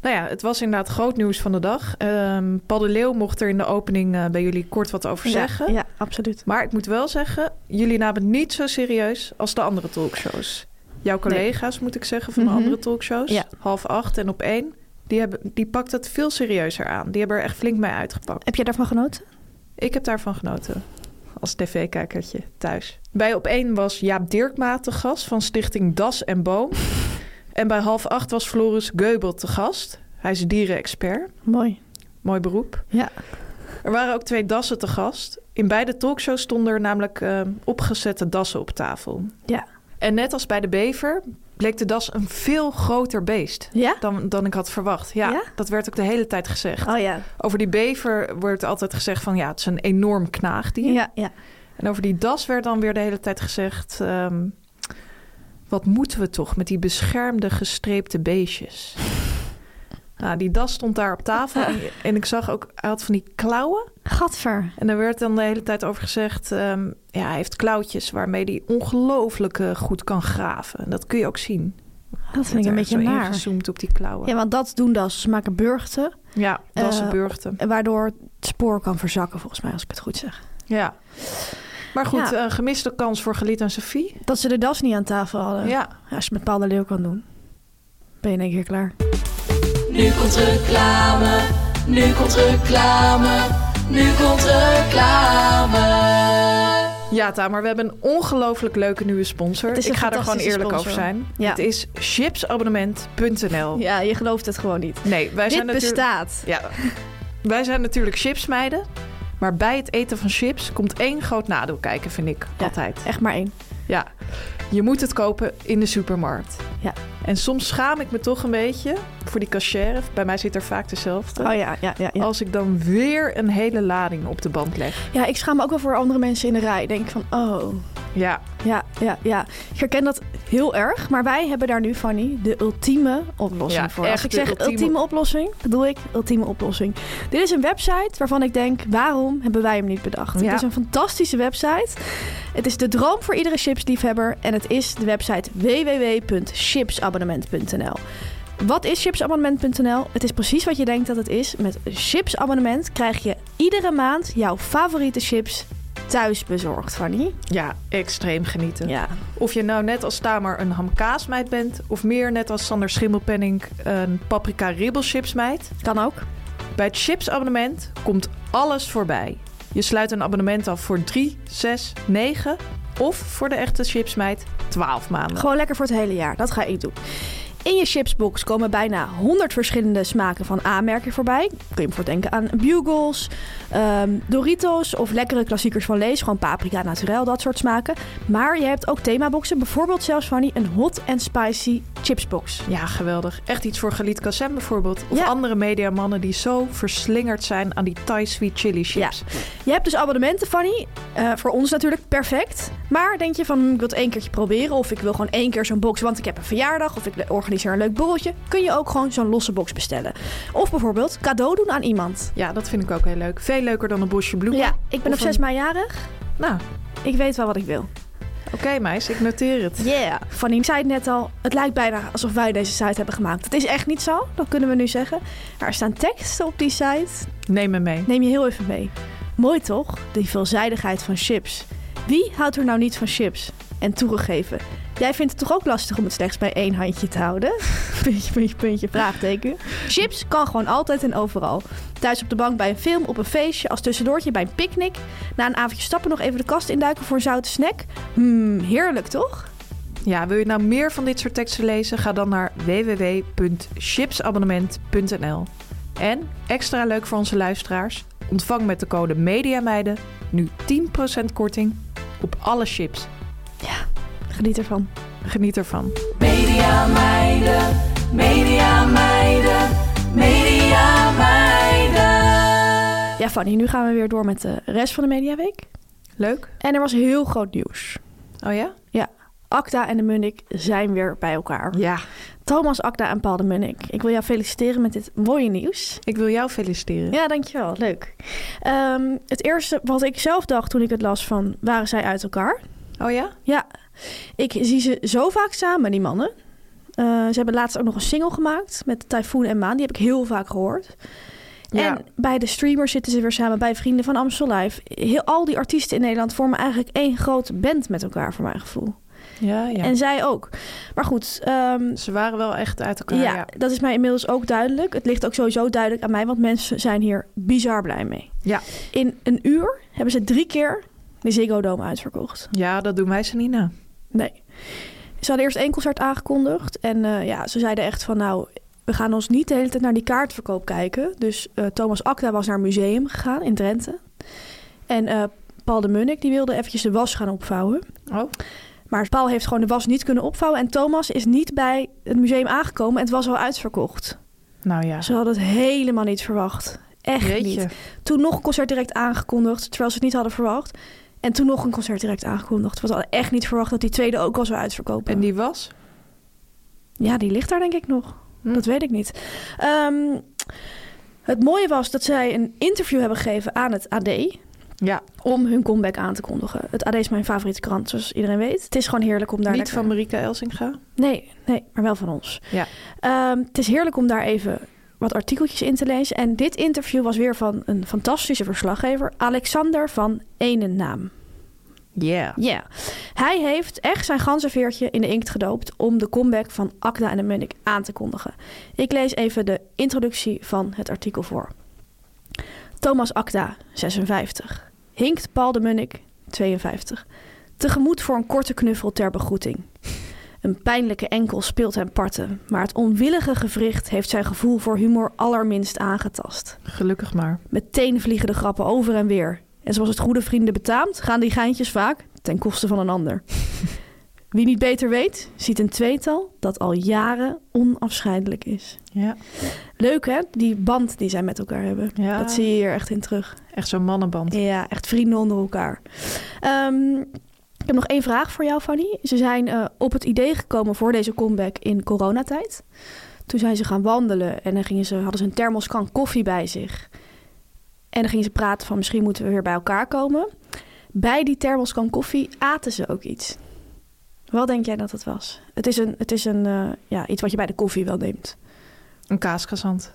Speaker 7: Nou ja, het was inderdaad groot nieuws van de dag. Ehm Paul de Leeuw mocht er in de opening eh, bij jullie kort wat over zeggen.
Speaker 8: Ja, ja, absoluut.
Speaker 7: Maar ik moet wel zeggen, jullie namen het niet zo serieus als de andere talkshows. Jouw collega's, moet ik zeggen, van
Speaker 8: Mhm.
Speaker 7: de andere talkshows,
Speaker 8: Ja.
Speaker 7: half acht en op één, die, hebben, die pakt het veel serieuzer aan. Die hebben er echt flink mee uitgepakt.
Speaker 8: Heb jij daarvan genoten?
Speaker 7: Ik heb daarvan genoten. Als tv-kijkertje thuis. Bij op één was Jaap Dirkma te gast van stichting Das en Boom. en bij half acht was Floris Geubel te gast. Hij is dierenexpert.
Speaker 8: Mooi.
Speaker 7: Mooi beroep.
Speaker 8: Ja.
Speaker 7: Er waren ook twee dassen te gast. In beide talkshows stonden er namelijk eh, opgezette dassen op tafel.
Speaker 8: Ja.
Speaker 7: En net als bij de bever bleek de das een veel groter beest
Speaker 8: Ja?
Speaker 7: dan, dan ik had verwacht. Ja,
Speaker 8: Ja?
Speaker 7: dat werd ook de hele tijd gezegd.
Speaker 8: Oh ja.
Speaker 7: Over die bever wordt altijd gezegd van ja, het is een enorm knaagdier.
Speaker 8: Ja, ja.
Speaker 7: En over die das werd dan weer de hele tijd gezegd... ehm, wat moeten we toch met die beschermde gestreepte beestjes? Nou, die das stond daar op tafel en, en ik zag ook, hij had van die klauwen.
Speaker 8: Gadver.
Speaker 7: En er werd dan de hele tijd over gezegd, ehm, ja, hij heeft klauwtjes waarmee hij ongelooflijk eh, goed kan graven. En dat kun je ook zien.
Speaker 8: Dat vind ik een
Speaker 7: Er
Speaker 8: beetje
Speaker 7: zo
Speaker 8: naar.
Speaker 7: ingezoomd op die klauwen.
Speaker 8: Ja,
Speaker 7: Ja,
Speaker 8: want dat doen dat. Ze maken burchten,
Speaker 7: dassen,
Speaker 8: Eh,
Speaker 7: burgten.
Speaker 8: waardoor het spoor kan verzakken, volgens mij, als ik het goed zeg.
Speaker 7: Ja. Maar goed,
Speaker 8: Ja.
Speaker 7: eh, gemiste kans voor Galit en Sophie.
Speaker 8: Dat ze de das niet aan tafel hadden.
Speaker 7: Ja.
Speaker 8: Als je het met Paul de Leeuw kan doen, ben je in één keer klaar.
Speaker 9: Nu komt reclame, nu komt reclame, nu komt reclame.
Speaker 7: Ja, Tamar, we hebben een ongelooflijk leuke nieuwe sponsor.
Speaker 8: Het is een
Speaker 7: Ik ga er gewoon
Speaker 8: fantastische
Speaker 7: eerlijk
Speaker 8: sponsor.
Speaker 7: over zijn.
Speaker 8: Ja.
Speaker 7: Het is chipsabonnement.nl.
Speaker 8: Ja, je gelooft het gewoon niet.
Speaker 7: Nee, wij
Speaker 8: Dit
Speaker 7: zijn natuurlijk...
Speaker 8: bestaat.
Speaker 7: Ja. wij zijn natuurlijk chipsmeiden. Maar bij het eten van chips komt één groot nadeel kijken, vind ik.
Speaker 8: Ja.
Speaker 7: Altijd.
Speaker 8: Echt maar één.
Speaker 7: Ja. Je moet het kopen in de supermarkt.
Speaker 8: Ja.
Speaker 7: En soms schaam ik me toch een beetje voor die cashier. Bij mij zit er vaak dezelfde.
Speaker 8: Oh ja, ja, ja. Ja,
Speaker 7: Als ik dan weer een hele lading op de band leg.
Speaker 8: ja ik schaam me ook wel voor andere mensen in de rij. Ik Denk van, oh,
Speaker 7: Ja.
Speaker 8: ja, ja, ja. Ik herken dat heel erg. Maar wij hebben daar nu, Fanny, de ultieme oplossing
Speaker 7: Ja,
Speaker 8: voor.
Speaker 7: echt
Speaker 8: Als ik
Speaker 7: de
Speaker 8: zeg
Speaker 7: ultieme-
Speaker 8: ultieme... oplossing, bedoel ik ultieme oplossing. Dit is een website waarvan ik denk, waarom hebben wij hem niet bedacht?
Speaker 7: Ja.
Speaker 8: Het is een fantastische website. Het is de droom voor iedere chipsliefhebber. En het is de website www.chipsabonnement.nl. Wat is chipsabonnement.nl? Het is precies wat je denkt dat het is. Met een chipsabonnement krijg je iedere maand jouw favoriete chips thuis bezorgd, Fanny.
Speaker 7: Ja, extreem genieten.
Speaker 8: Ja,
Speaker 7: Of je nou net als Tamer een hamkaasmeid bent... of meer net als Sander Schimmelpenning een paprika ribbelchipsmeid...
Speaker 8: kan ook.
Speaker 7: bij het chipsabonnement komt alles voorbij. Je sluit een abonnement af voor 3, 6, 9 of voor de echte chipsmeid 12 maanden.
Speaker 8: Gewoon lekker voor het hele jaar. Dat ga ik doen. In je chipsbox komen bijna 100 verschillende smaken van aanmerking voorbij. Kun je voor denken aan bugles, ehm, Doritos of lekkere klassiekers van Lees. Gewoon paprika, naturel, dat soort smaken. Maar je hebt ook themaboxen. Bijvoorbeeld zelfs van die een hot and spicy chipsbox.
Speaker 7: Ja, geweldig. Echt iets voor Galit Kassem bijvoorbeeld. Of
Speaker 8: Ja.
Speaker 7: andere mediamannen die zo verslingerd zijn aan die Thai sweet chili chips.
Speaker 8: Je hebt dus abonnementen, Fanny. Eh, voor ons natuurlijk perfect. Maar denk je van, hm, ik wil het één keertje proberen... of ik wil gewoon één keer zo'n box, want ik heb een verjaardag... of ik organiseer een leuk borreltje... kun je ook gewoon zo'n losse box bestellen. Of bijvoorbeeld cadeau doen aan iemand.
Speaker 7: Ja, dat vind ik ook heel leuk. Veel leuker dan een bosje bloemen.
Speaker 8: Ja, ik ben
Speaker 7: Of
Speaker 8: op 6
Speaker 7: een-
Speaker 8: mei jarig.
Speaker 7: Nou,
Speaker 8: Ik weet wel wat ik wil.
Speaker 7: oké meis, ik noteer het.
Speaker 8: Yeah. Fanny ik zei het net al, het lijkt bijna alsof wij deze site hebben gemaakt. Dat is echt niet zo, dat kunnen we nu zeggen. Maar er staan teksten op die site.
Speaker 7: Neem me mee.
Speaker 8: Neem je heel even mee. Mooi toch, die veelzijdigheid van chips. Wie houdt er nou niet van chips? En toegegeven, jij vindt het toch ook lastig om het slechts bij één handje te houden? puntje, puntje, puntje, vraagteken. Chips kan gewoon altijd en overal. Thuis op de bank bij een film, op een feestje, als tussendoortje bij een picknick. Na een avondje stappen nog even de kast induiken voor een zoute snack. Hmm, heerlijk toch?
Speaker 7: Ja, wil je nou meer van dit soort teksten lezen? Ga dan naar www.chipsabonnement.nl. En extra leuk voor onze luisteraars: ontvang met de code MEDIAMEIDEN nu 10% korting op alle chips.
Speaker 8: Geniet ervan.
Speaker 7: Geniet ervan.
Speaker 9: Media meiden, media meiden, media meiden.
Speaker 8: Ja, Fanny, nu gaan we weer door met de rest van de Mediaweek.
Speaker 7: Leuk?
Speaker 8: En er was heel groot nieuws.
Speaker 7: Oh ja?
Speaker 8: Ja, Acta en de Munnik zijn weer bij elkaar.
Speaker 7: Ja.
Speaker 8: Thomas Acta en Paul de Munnik. Ik wil jou feliciteren met dit mooie nieuws.
Speaker 7: Ik wil jou feliciteren.
Speaker 8: Ja, dankjewel. Leuk. Ehm, het eerste wat ik zelf dacht toen ik het las van... waren zij uit elkaar?
Speaker 7: Oh ja?
Speaker 8: Ja, ik zie ze zo vaak samen, die mannen. Eh, ze hebben laatst ook nog een single gemaakt met Typhoon en Maan. Die heb ik heel vaak gehoord.
Speaker 7: Ja.
Speaker 8: En bij de streamers zitten ze weer samen, bij Vrienden van Amstel Live. Heel, al die artiesten in Nederland vormen eigenlijk één grote band met elkaar, voor mijn gevoel.
Speaker 7: Ja, ja.
Speaker 8: En zij ook. Maar goed, ehm,
Speaker 7: Ze waren wel echt uit elkaar.
Speaker 8: ja,
Speaker 7: Ja.
Speaker 8: dat is mij inmiddels ook duidelijk. Het ligt ook sowieso duidelijk aan mij, want mensen zijn hier bizar blij mee.
Speaker 7: Ja.
Speaker 8: In een uur hebben ze drie keer de Ziggo Dome uitverkocht.
Speaker 7: Ja, dat doen wij ze niet na.
Speaker 8: Nee. Ze hadden eerst één concert aangekondigd. En eh, ja, ze zeiden echt van nou, we gaan ons niet de hele tijd naar die kaartverkoop kijken. Dus eh, Thomas Akda was naar een museum gegaan in Drenthe. En eh, Paul de Munnik die wilde eventjes de was gaan opvouwen.
Speaker 7: Oh.
Speaker 8: Maar Paul heeft gewoon de was niet kunnen opvouwen. En Thomas is niet bij het museum aangekomen. En het was al uitverkocht.
Speaker 7: Nou ja.
Speaker 8: Ze hadden het helemaal niet verwacht. Echt
Speaker 7: Jeetje.
Speaker 8: niet. Toen nog een concert direct aangekondigd, terwijl ze het niet hadden verwacht. En toen nog een concert direct aangekondigd. Want ze hadden echt niet verwacht dat die tweede ook al zou uitverkopen.
Speaker 7: En die was?
Speaker 8: Ja, die ligt daar denk ik nog.
Speaker 7: Hm.
Speaker 8: Dat weet ik niet. Ehm, het mooie was dat zij een interview hebben gegeven aan het AD...
Speaker 7: Ja.
Speaker 8: om hun comeback aan te kondigen. Het AD is mijn favoriete krant, zoals iedereen weet. Het is gewoon heerlijk om daar...
Speaker 7: niet
Speaker 8: lekker-
Speaker 7: van Marika Elsinga?
Speaker 8: Nee, nee, maar wel van ons.
Speaker 7: Ja.
Speaker 8: Ehm, het is heerlijk om daar even wat artikeltjes in te lezen. En dit interview was weer van een fantastische verslaggever, Alexander van Enennaam.
Speaker 7: Ja.
Speaker 8: Ja. Hij heeft echt zijn ganzenveertje in de inkt gedoopt om de comeback van Akda en de Munnik aan te kondigen. Ik lees even de introductie van het artikel voor. Thomas Akda, 56. Hinkt Paul de Munnik, 52. Tegemoet voor een korte knuffel ter begroeting. Een pijnlijke enkel speelt hem parten, maar het onwillige gewricht heeft zijn gevoel voor humor allerminst aangetast.
Speaker 7: Gelukkig maar.
Speaker 8: Meteen vliegen de grappen over en weer. En zoals het goede vrienden betaamt, gaan die geintjes vaak ten koste van een ander. Wie niet beter weet, ziet een tweetal dat al jaren onafscheidelijk is.
Speaker 7: Ja.
Speaker 8: Leuk hè, die band die zij met elkaar hebben.
Speaker 7: Ja.
Speaker 8: Dat zie je hier echt in terug.
Speaker 7: Echt zo'n mannenband.
Speaker 8: Ja, echt vrienden onder elkaar. Ehm, ik heb nog één vraag voor jou, Fanny. Ze zijn eh, op het idee gekomen voor deze comeback in coronatijd. Toen zijn ze gaan wandelen en dan gingen ze, hadden ze een thermoskan koffie bij zich. En dan gingen ze praten van misschien moeten we weer bij elkaar komen. Bij die thermoskan koffie aten ze ook iets. Wat denk jij dat het was? Het is, een, het is een, eh, ja, iets wat je bij de koffie wel neemt.
Speaker 7: Een kaaskazant.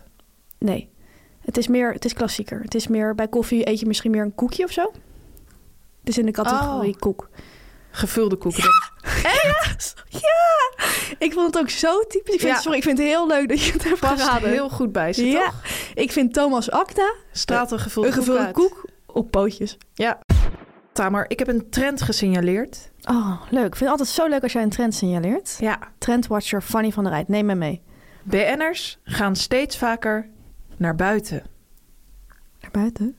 Speaker 8: Nee, het is meer, het is klassieker. Het is meer, bij koffie eet je misschien meer een koekje of zo. Het is in de categorie
Speaker 7: Oh.
Speaker 8: koek.
Speaker 7: Gevulde koek.
Speaker 8: Ja! Ik vond het ook zo typisch. Ik vind,
Speaker 7: Ja.
Speaker 8: Sorry, ik vind het heel leuk dat je het hebt
Speaker 7: Past
Speaker 8: geraden.
Speaker 7: heel goed bij ze,
Speaker 8: ja,
Speaker 7: toch?
Speaker 8: ik vind Thomas Acta
Speaker 7: Straat een gevulde,
Speaker 8: een gevulde
Speaker 7: uit.
Speaker 8: koek op pootjes.
Speaker 7: Ja. Tamer, ik heb een trend gesignaleerd.
Speaker 8: Oh, leuk. Ik vind het altijd zo leuk als jij een trend signaleert.
Speaker 7: Ja.
Speaker 8: Trendwatcher Fanny van der Rijt, neem me mee.
Speaker 7: BN'ers gaan steeds vaker naar buiten.
Speaker 8: Naar buiten?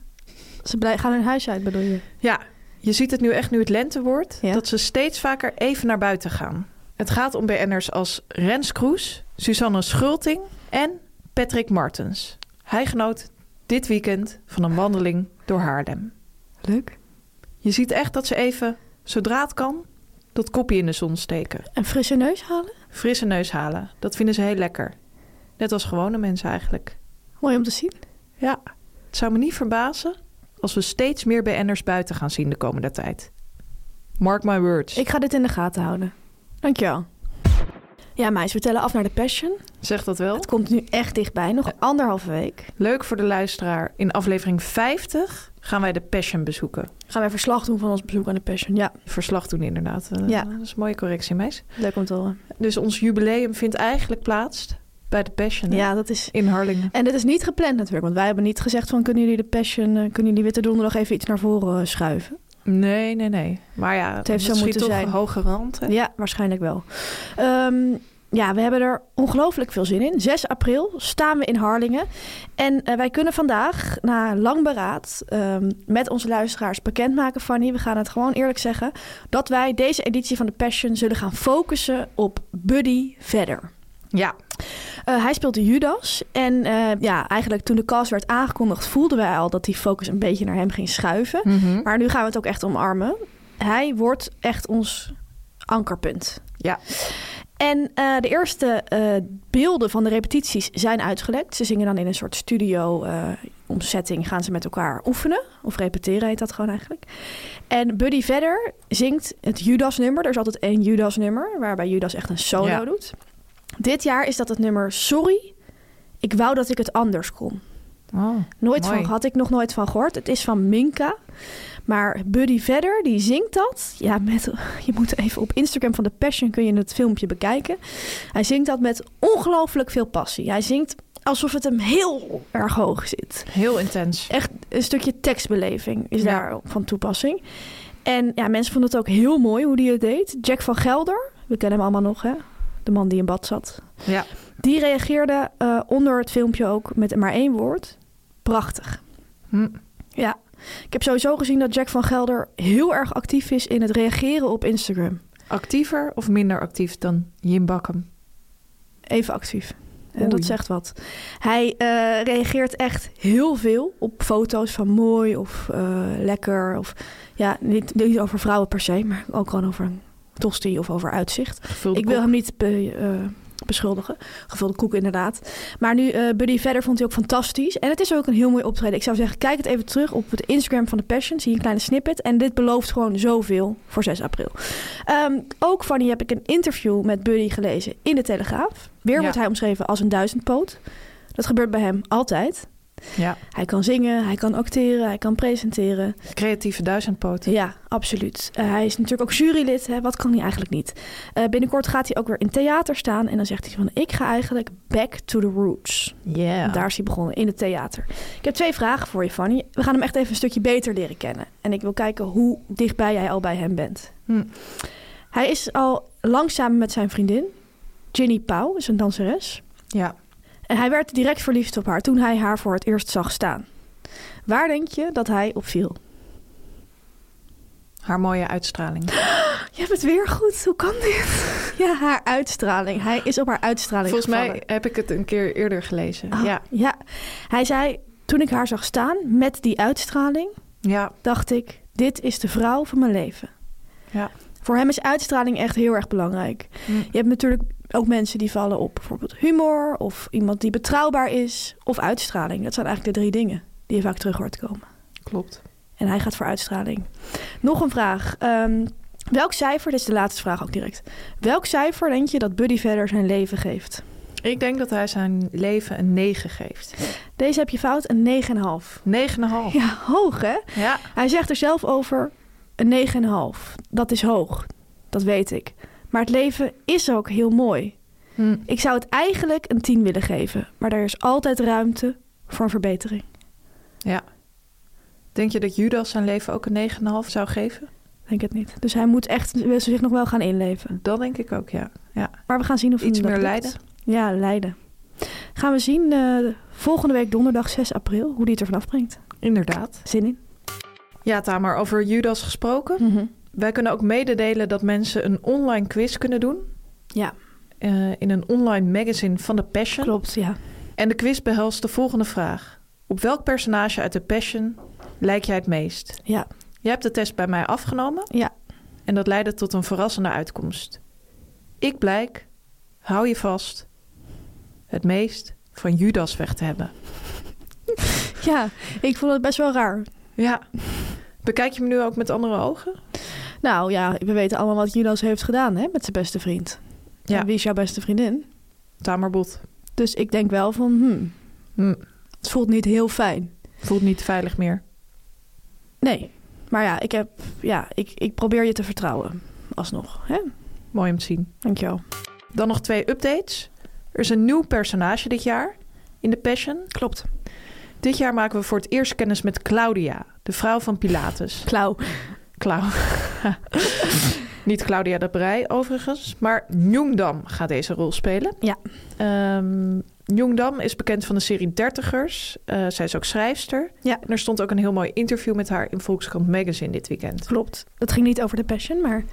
Speaker 8: Ze blij- gaan hun huis uit, bedoel je?
Speaker 7: Ja, je ziet het nu echt nu het lente wordt,
Speaker 8: Ja.
Speaker 7: dat ze steeds vaker even naar buiten gaan. Het gaat om BN'ers als Rens Kroes, Susanne Schulting en Patrick Martens. Hij genoot dit weekend van een wandeling door Haarlem.
Speaker 8: Leuk.
Speaker 7: Je ziet echt dat ze even, zodra het kan, dat kopje in de zon steken.
Speaker 8: Een frisse neus halen?
Speaker 7: Frisse neus halen, dat vinden ze heel lekker. Net als gewone mensen eigenlijk.
Speaker 8: Mooi om te zien.
Speaker 7: Ja, het zou me niet verbazen als we steeds meer BN'ers buiten gaan zien de komende tijd. Mark my words.
Speaker 8: Ik ga dit in de gaten houden. Dankjewel. Oh. Ja, meis, we tellen af naar de Passion.
Speaker 7: Zeg dat wel.
Speaker 8: Het komt nu echt dichtbij, nog anderhalve week.
Speaker 7: Leuk voor de luisteraar. In aflevering 50 gaan wij de Passion bezoeken.
Speaker 8: Gaan wij verslag doen van ons bezoek aan de Passion. Ja,
Speaker 7: Verslag doen inderdaad. Eh,
Speaker 8: Ja.
Speaker 7: Dat is een mooie correctie, meis.
Speaker 8: leuk om te horen.
Speaker 7: Dus ons jubileum vindt eigenlijk plaats bij de Passion hè?
Speaker 8: Ja, dat is...
Speaker 7: in Harlingen.
Speaker 8: En dit is niet gepland natuurlijk, want wij hebben niet gezegd van... kunnen jullie de Passion, eh, kunnen jullie Witte Donderdag even iets naar voren eh, schuiven?
Speaker 7: Nee, nee, nee. Maar ja, het
Speaker 8: heeft zo moeten
Speaker 7: toch
Speaker 8: zijn.
Speaker 7: een hoge rand. hè?
Speaker 8: Ja, waarschijnlijk wel. Ehm, ja, we hebben er ongelooflijk veel zin in. 6 april staan we in Harlingen. En eh, wij kunnen vandaag, na lang beraad, ehm, met onze luisteraars bekendmaken, Fanny. We gaan het gewoon eerlijk zeggen. Dat wij deze editie van The Passion zullen gaan focussen op Buddy verder.
Speaker 7: Ja.
Speaker 8: Eh, hij speelt de Judas. En eh, ja, eigenlijk toen de cast werd aangekondigd, voelden wij al dat die focus een beetje naar hem ging schuiven.
Speaker 7: Hm.
Speaker 8: Maar nu gaan we het ook echt omarmen. Hij wordt echt ons ankerpunt.
Speaker 7: Ja.
Speaker 8: En eh, de eerste eh, beelden van de repetities zijn uitgelekt. Ze zingen dan in een soort studio-omzetting. gaan ze met elkaar oefenen. Of repeteren heet dat gewoon eigenlijk. En Buddy verder zingt het Judas-nummer. Er is altijd één Judas-nummer. Waarbij Judas echt een solo
Speaker 7: Ja.
Speaker 8: doet. Dit jaar is dat het nummer Sorry, ik wou dat ik het anders kon.
Speaker 7: Oh,
Speaker 8: Nooit
Speaker 7: mooi.
Speaker 8: van, had ik nog nooit van gehoord. Het is van Minka. Maar Buddy Vedder, die zingt dat. Ja, met, je moet even op Instagram van The Passion kun je het filmpje bekijken. Hij zingt dat met ongelooflijk veel passie. Hij zingt alsof het hem heel erg hoog zit.
Speaker 7: Heel intens.
Speaker 8: Echt een stukje tekstbeleving is
Speaker 7: Ja.
Speaker 8: daar van toepassing. En ja, mensen vonden het ook heel mooi hoe hij het deed. Jack van Gelder, we kennen hem allemaal nog hè. De man die in bad zat.
Speaker 7: Ja.
Speaker 8: Die reageerde eh, onder het filmpje ook met maar één woord. Prachtig.
Speaker 7: Hm.
Speaker 8: Ja. Ik heb sowieso gezien dat Jack van Gelder heel erg actief is in het reageren op Instagram.
Speaker 7: Actiever of minder actief dan Jim Bakkum?
Speaker 8: Even actief. En
Speaker 7: Oei.
Speaker 8: dat zegt wat. Hij eh, reageert echt heel veel op foto's van mooi of eh, lekker. Of ja, niet, niet over vrouwen per se, maar ook gewoon over een tosti of over uitzicht.
Speaker 7: Gevulde
Speaker 8: Ik wil
Speaker 7: kop.
Speaker 8: hem niet be- eh, beschuldigen. Gevulde koek inderdaad. Maar nu, eh, Buddy verder vond hij ook fantastisch. En het is ook een heel mooi optreden. Ik zou zeggen, kijk het even terug op het Instagram van The Passion. Zie je een kleine snippet. En dit belooft gewoon zoveel voor 6 april. Ehm, ook van die heb ik een interview met Buddy gelezen in De Telegraaf. Weer
Speaker 7: Ja.
Speaker 8: wordt hij omschreven als een duizendpoot. Dat gebeurt bij hem altijd.
Speaker 7: Ja.
Speaker 8: Hij kan zingen, hij kan acteren, hij kan presenteren.
Speaker 7: Creatieve duizendpoten.
Speaker 8: Ja, absoluut. Eh, hij is natuurlijk ook jurylid. Hè? Wat kan hij eigenlijk niet? Eh, binnenkort gaat hij ook weer in theater staan. En dan zegt hij van, ik ga eigenlijk back to the roots.
Speaker 7: Yeah.
Speaker 8: Daar is hij begonnen, in het theater. Ik heb twee vragen voor je, Fanny. We gaan hem echt even een stukje beter leren kennen. En ik wil kijken hoe dichtbij jij al bij hem bent.
Speaker 7: Hm.
Speaker 8: Hij is al lang samen met zijn vriendin. Ginny Pauw is een danseres.
Speaker 7: Ja.
Speaker 8: En hij werd direct verliefd op haar toen hij haar voor het eerst zag staan. Waar denk je dat hij op viel?
Speaker 7: Haar mooie uitstraling.
Speaker 8: Je hebt het weer goed. Hoe kan dit? Ja, haar uitstraling. Hij is op haar uitstraling
Speaker 7: Volgens mij
Speaker 8: gevallen.
Speaker 7: heb ik het een keer eerder gelezen.
Speaker 8: Ah,
Speaker 7: Ja.
Speaker 8: ja. Hij zei, toen ik haar zag staan met die uitstraling,
Speaker 7: Ja.
Speaker 8: dacht ik, dit is de vrouw van mijn leven.
Speaker 7: Ja.
Speaker 8: Voor hem is uitstraling echt heel erg belangrijk.
Speaker 7: Hm.
Speaker 8: Je hebt natuurlijk ook mensen die vallen op bijvoorbeeld humor of iemand die betrouwbaar is of uitstraling. Dat zijn eigenlijk de drie dingen die je vaak terug hoort komen.
Speaker 7: Klopt.
Speaker 8: En hij gaat voor uitstraling. Nog een vraag. Ehm, welk cijfer, dit is de laatste vraag ook direct. Welk cijfer denk je dat Buddy verder zijn leven geeft?
Speaker 7: Ik denk dat hij zijn leven een 9 geeft. 9,5.
Speaker 8: Deze heb je fout, een 9,5. Ja, hoog hè?
Speaker 7: Ja.
Speaker 8: Hij zegt er zelf over een 9,5. Dat is hoog, dat weet ik. Maar het leven is ook heel mooi.
Speaker 7: Hm.
Speaker 8: Ik zou het eigenlijk een 10 willen geven, maar er is altijd ruimte voor een verbetering.
Speaker 7: Ja. Denk je dat Judas zijn leven ook een 9,5 zou geven?
Speaker 8: Ik Denk het niet. Dus hij moet echt wil zich nog wel gaan inleven.
Speaker 7: Dat denk ik ook, ja. ja.
Speaker 8: Maar we gaan zien of hem
Speaker 7: Iets
Speaker 8: dat
Speaker 7: meer
Speaker 8: lukt.
Speaker 7: lijden?
Speaker 8: Ja, Leiden. Gaan we zien eh, volgende week donderdag 6 april hoe die het ervan afbrengt.
Speaker 7: Inderdaad.
Speaker 8: Zin in?
Speaker 7: Ja, Tamer, over Judas gesproken. Wij kunnen ook mededelen dat mensen een online quiz kunnen doen.
Speaker 8: Ja,
Speaker 7: eh, in een online magazine van The Passion.
Speaker 8: klopt. Ja.
Speaker 7: En de quiz behelst de volgende vraag. Op welk personage uit The Passion lijk jij het meest?
Speaker 8: Ja.
Speaker 7: Jij hebt de test bij mij afgenomen.
Speaker 8: Ja.
Speaker 7: En dat leidde tot een verrassende uitkomst. Ik blijk, hou je vast, het meest van Judas weg te hebben.
Speaker 8: ja, ik vond het best wel raar.
Speaker 7: Ja. Bekijk je me nu ook met andere ogen?
Speaker 8: Nou ja, we weten allemaal wat Judas heeft gedaan hè, met zijn beste vriend.
Speaker 7: Ja.
Speaker 8: En wie is jouw beste vriendin?
Speaker 7: Tamerbot.
Speaker 8: Dus ik denk wel van, hmm,
Speaker 7: Hm,
Speaker 8: het voelt niet heel fijn.
Speaker 7: voelt niet veilig meer.
Speaker 8: Nee, maar ja, ik, heb, ja ik, ik probeer je te vertrouwen. Alsnog, hè?
Speaker 7: Mooi om te zien.
Speaker 8: Dankjewel.
Speaker 7: Dan nog twee updates. Er is een nieuw personage dit jaar in The Passion.
Speaker 8: Klopt.
Speaker 7: Dit jaar maken we voor het eerst kennis met Claudia, de vrouw van Pilatus.
Speaker 8: Klauw.
Speaker 7: Klauw. Niet Claudia de Brij overigens, maar Jungdam gaat deze rol spelen.
Speaker 8: Ja.
Speaker 7: Ehm Jungdam is bekend van de serie Dertigers. Eh, zij is ook schrijfster.
Speaker 8: Ja.
Speaker 7: En er stond ook een heel mooi interview met haar in Volkskrant Magazine dit weekend.
Speaker 8: Klopt. Dat ging niet over de passion, maar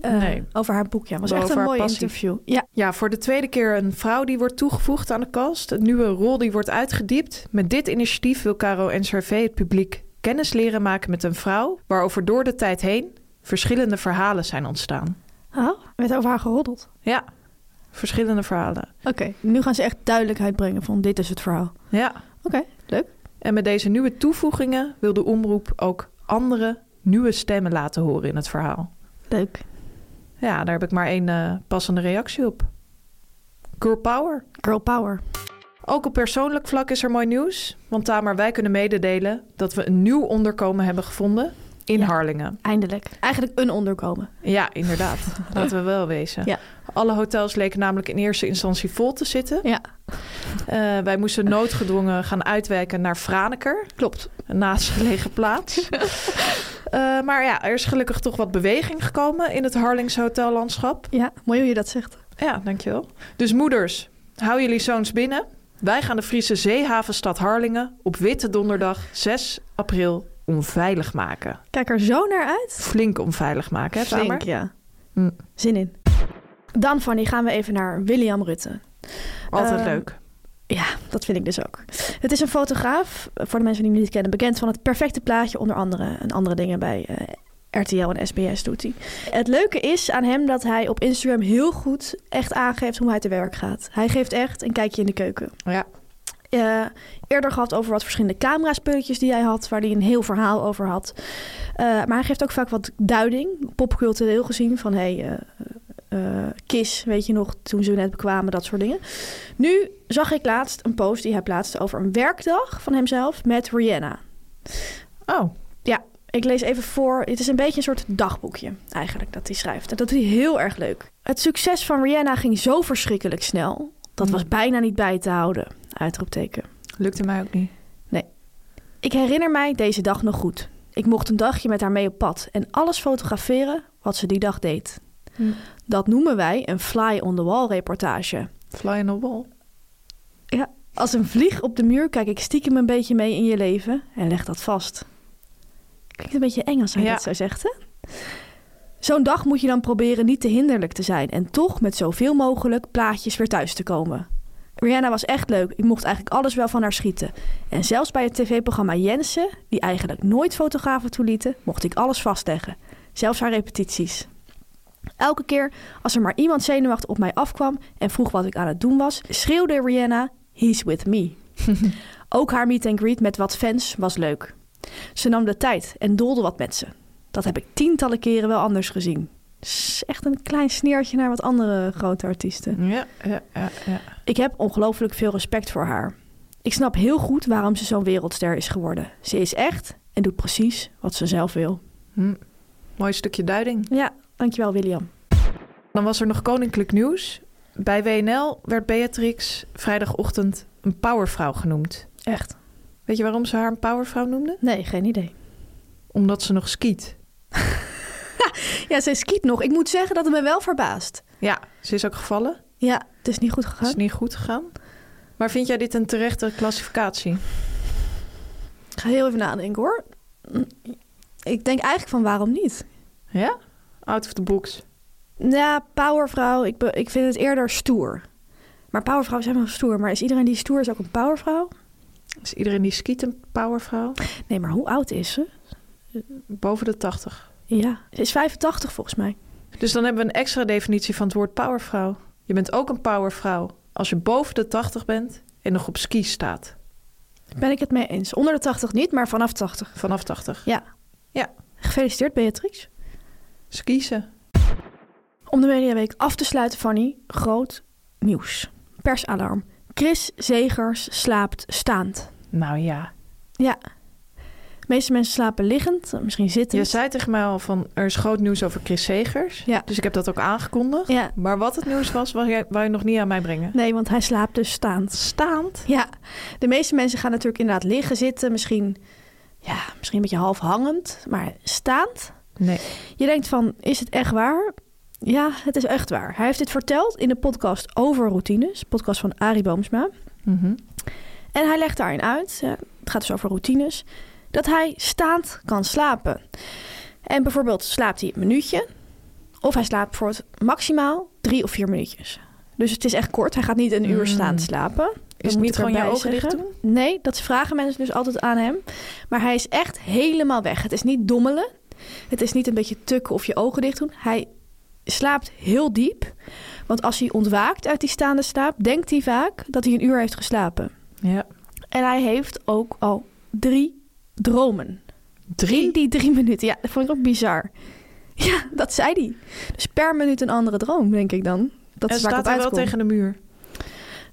Speaker 8: eh,
Speaker 7: Nee.
Speaker 8: over haar boek. Ja, was
Speaker 7: Maar
Speaker 8: echt
Speaker 7: over
Speaker 8: een
Speaker 7: haar
Speaker 8: mooi
Speaker 7: passie.
Speaker 8: interview. Ja,
Speaker 7: Ja, voor de tweede keer een vrouw die wordt toegevoegd aan de cast. Een nieuwe rol die wordt uitgediept. Met dit initiatief wil Caro NCRV het publiek kennis leren maken met een vrouw... waarover door de tijd heen verschillende verhalen zijn ontstaan.
Speaker 8: oh, werd over haar geroddeld.
Speaker 7: Ja, verschillende verhalen.
Speaker 8: Oké, nu gaan ze echt duidelijkheid brengen van dit is het verhaal.
Speaker 7: Ja.
Speaker 8: Oké, leuk.
Speaker 7: En met deze nieuwe toevoegingen wil de omroep ook andere nieuwe stemmen laten horen in het verhaal.
Speaker 8: Leuk.
Speaker 7: Ja, daar heb ik maar één eh, passende reactie op. Girl power.
Speaker 8: Girl power.
Speaker 7: Ook op persoonlijk vlak is er mooi nieuws. Want Tamer, wij kunnen mededelen dat we een nieuw onderkomen hebben gevonden in
Speaker 8: Ja.
Speaker 7: Harlingen.
Speaker 8: Eindelijk. Eigenlijk een onderkomen.
Speaker 7: Ja, inderdaad. Laten we wel wezen.
Speaker 8: Ja.
Speaker 7: Alle hotels leken namelijk in eerste instantie vol te zitten.
Speaker 8: Ja,
Speaker 7: Eh, wij moesten noodgedwongen gaan uitwijken naar Franeker.
Speaker 8: klopt.
Speaker 7: een naastgelegen plaats. Eh, maar ja, er is gelukkig toch wat beweging gekomen in het Harlings hotellandschap.
Speaker 8: Ja, mooi hoe je dat zegt.
Speaker 7: Ja, dankjewel. Dus moeders, hou jullie zoons binnen. Wij gaan de Friese zeehavenstad Harlingen op Witte Donderdag 6 april onveilig maken.
Speaker 8: Kijk er zo naar uit.
Speaker 7: Flink onveilig maken, hè Tamer?
Speaker 8: Flink, ja.
Speaker 7: Hm.
Speaker 8: Zin in. Dan, Fanny, gaan we even naar William Rutte.
Speaker 7: Altijd
Speaker 8: Eh,
Speaker 7: leuk.
Speaker 8: Ja, dat vind ik dus ook. Het is een fotograaf, eh, voor de mensen die hem niet kennen, bekend van het perfecte plaatje onder andere. En andere dingen bij eh, RTL en SBS doet hij. Het leuke is aan hem dat hij op Instagram heel goed echt aangeeft hoe hij te werk gaat. Hij geeft echt een kijkje in de keuken.
Speaker 7: Ja.
Speaker 8: Eh, eerder gehad over wat verschillende camera-spulletjes die hij had, waar hij een heel verhaal over had. Eh, maar hij geeft ook vaak wat duiding, popcultureel gezien, van hé, hey, eh, eh, Kiss, weet je nog, toen ze net bekwamen, dat soort dingen. Nu zag ik laatst een post die hij plaatste over een werkdag van hemzelf met Rihanna.
Speaker 7: Oh,
Speaker 8: Ja, ik lees even voor. Het is een beetje een soort dagboekje eigenlijk dat hij schrijft. En dat is heel erg leuk. Het succes van Rihanna ging zo verschrikkelijk snel. Dat was bijna niet bij te houden. Uitroepteken.
Speaker 7: lukte mij ook niet.
Speaker 8: Ik herinner mij deze dag nog goed. Ik mocht een dagje met haar mee op pad en alles fotograferen wat ze die dag deed. Dat noemen wij een fly-on-the-wall reportage.
Speaker 7: Fly on the wall.
Speaker 8: Ja, als een vlieg op de muur kijk ik stiekem een beetje mee in je leven en leg dat vast. Klinkt een beetje eng als hij
Speaker 7: Ja.
Speaker 8: dat zo zegt, hè? Zo'n dag moet je dan proberen niet te hinderlijk te zijn en toch met zoveel mogelijk plaatjes weer thuis te komen. Rihanna was echt leuk. Ik mocht eigenlijk alles wel van haar schieten. En zelfs bij het tv-programma Jensen, die eigenlijk nooit fotografen toelieten, mocht ik alles vastleggen. Zelfs haar repetities. Elke keer als er maar iemand zenuwachtig op mij afkwam en vroeg wat ik aan het doen was, schreeuwde Rihanna: He's with me. Ook haar meet and greet met wat fans was leuk. Ze nam de tijd en dolde wat met ze. Dat heb ik tientallen keren wel anders gezien. Is Echt een klein sneertje naar wat andere grote artiesten.
Speaker 7: Ja, ja, ja, ja.
Speaker 8: Ik heb ongelooflijk veel respect voor haar. Ik snap heel goed waarom ze zo'n wereldster is geworden. Ze is echt en doet precies wat ze zelf wil.
Speaker 7: Mooi stukje duiding.
Speaker 8: Ja, dankjewel William.
Speaker 7: Dan was er nog koninklijk nieuws. Bij WNL werd Beatrix vrijdagochtend een powervrouw genoemd.
Speaker 8: Echt?
Speaker 7: Weet je waarom ze haar een powervrouw noemde?
Speaker 8: Nee, geen idee.
Speaker 7: omdat ze nog skiet.
Speaker 8: Ja, zij skiet nog. Ik moet zeggen dat het me wel verbaast.
Speaker 7: Ja, ze is ook gevallen.
Speaker 8: Ja, het is niet goed
Speaker 7: Het is
Speaker 8: gegaan.
Speaker 7: niet goed gegaan. Maar vind jij dit een terechte klassificatie?
Speaker 8: Ik ga heel even nadenken hoor. Ik denk eigenlijk van waarom niet?
Speaker 7: Ja? Out of the box.
Speaker 8: Ja, powervrouw. Ik, be- ik vind het eerder stoer. Maar powervrouwen zijn wel stoer. Maar is iedereen die stoer is ook een powervrouw?
Speaker 7: Is iedereen die skiet een powervrouw?
Speaker 8: Nee, maar hoe oud is ze?
Speaker 7: Boven de 80.
Speaker 8: Ja, ze is 85 volgens mij.
Speaker 7: Dus dan hebben we een extra definitie van het woord powervrouw. Je bent ook een powervrouw als je boven de 80 bent en nog op ski staat.
Speaker 8: Ben ik het mee eens. Onder de 80 niet, maar vanaf 80.
Speaker 7: Vanaf 80.
Speaker 8: Ja.
Speaker 7: Ja.
Speaker 8: Gefeliciteerd Beatrix.
Speaker 7: Skiezen.
Speaker 8: Om de Mediaweek af te sluiten, Fanny, groot nieuws. Persalarm. Chris Zegers slaapt staand.
Speaker 7: Nou ja.
Speaker 8: Ja. De meeste mensen slapen liggend, misschien zittend.
Speaker 7: Je zei tegen mij al van er is groot nieuws over Chris Segers.
Speaker 8: Ja.
Speaker 7: Dus ik heb dat ook aangekondigd.
Speaker 8: Ja.
Speaker 7: Maar wat het nieuws was, wou je, wou je nog niet aan mij brengen.
Speaker 8: Nee, want hij slaapt dus staand.
Speaker 7: Staand.
Speaker 8: Ja, de meeste mensen gaan natuurlijk inderdaad liggen zitten. Misschien, ja, misschien een beetje half hangend, maar staand.
Speaker 7: Nee.
Speaker 8: Je denkt van, is het echt waar? Ja, het is echt waar. Hij heeft dit verteld in de podcast over routines. Podcast van Arie Boomsma.
Speaker 7: Mhm.
Speaker 8: En hij legt daarin uit, hè, het gaat dus over routines, dat hij staand kan slapen. En bijvoorbeeld slaapt hij een minuutje, of hij slaapt voor het maximaal drie of vier minuutjes. Dus het is echt kort, hij gaat niet een uur staand slapen.
Speaker 7: Hmm. Is
Speaker 8: moet
Speaker 7: het niet
Speaker 8: ik
Speaker 7: gewoon je
Speaker 8: erbij
Speaker 7: ogen dicht
Speaker 8: zeggen.
Speaker 7: doen?
Speaker 8: Nee, dat vragen mensen dus altijd aan hem. Maar hij is echt helemaal weg. Het is niet dommelen, het is niet een beetje tukken of je ogen dicht doen. Hij slaapt heel diep, want als hij ontwaakt uit die staande slaap, denkt hij vaak dat hij een uur heeft geslapen.
Speaker 7: Ja.
Speaker 8: En hij heeft ook al drie dromen. In die drie minuten. Ja, dat vond ik ook bizar. Ja, dat zei hij. Dus per minuut een andere droom, denk ik dan. Dat
Speaker 7: en
Speaker 8: is waar
Speaker 7: staat
Speaker 8: ik op
Speaker 7: hij wel
Speaker 8: uitkom.
Speaker 7: tegen de muur.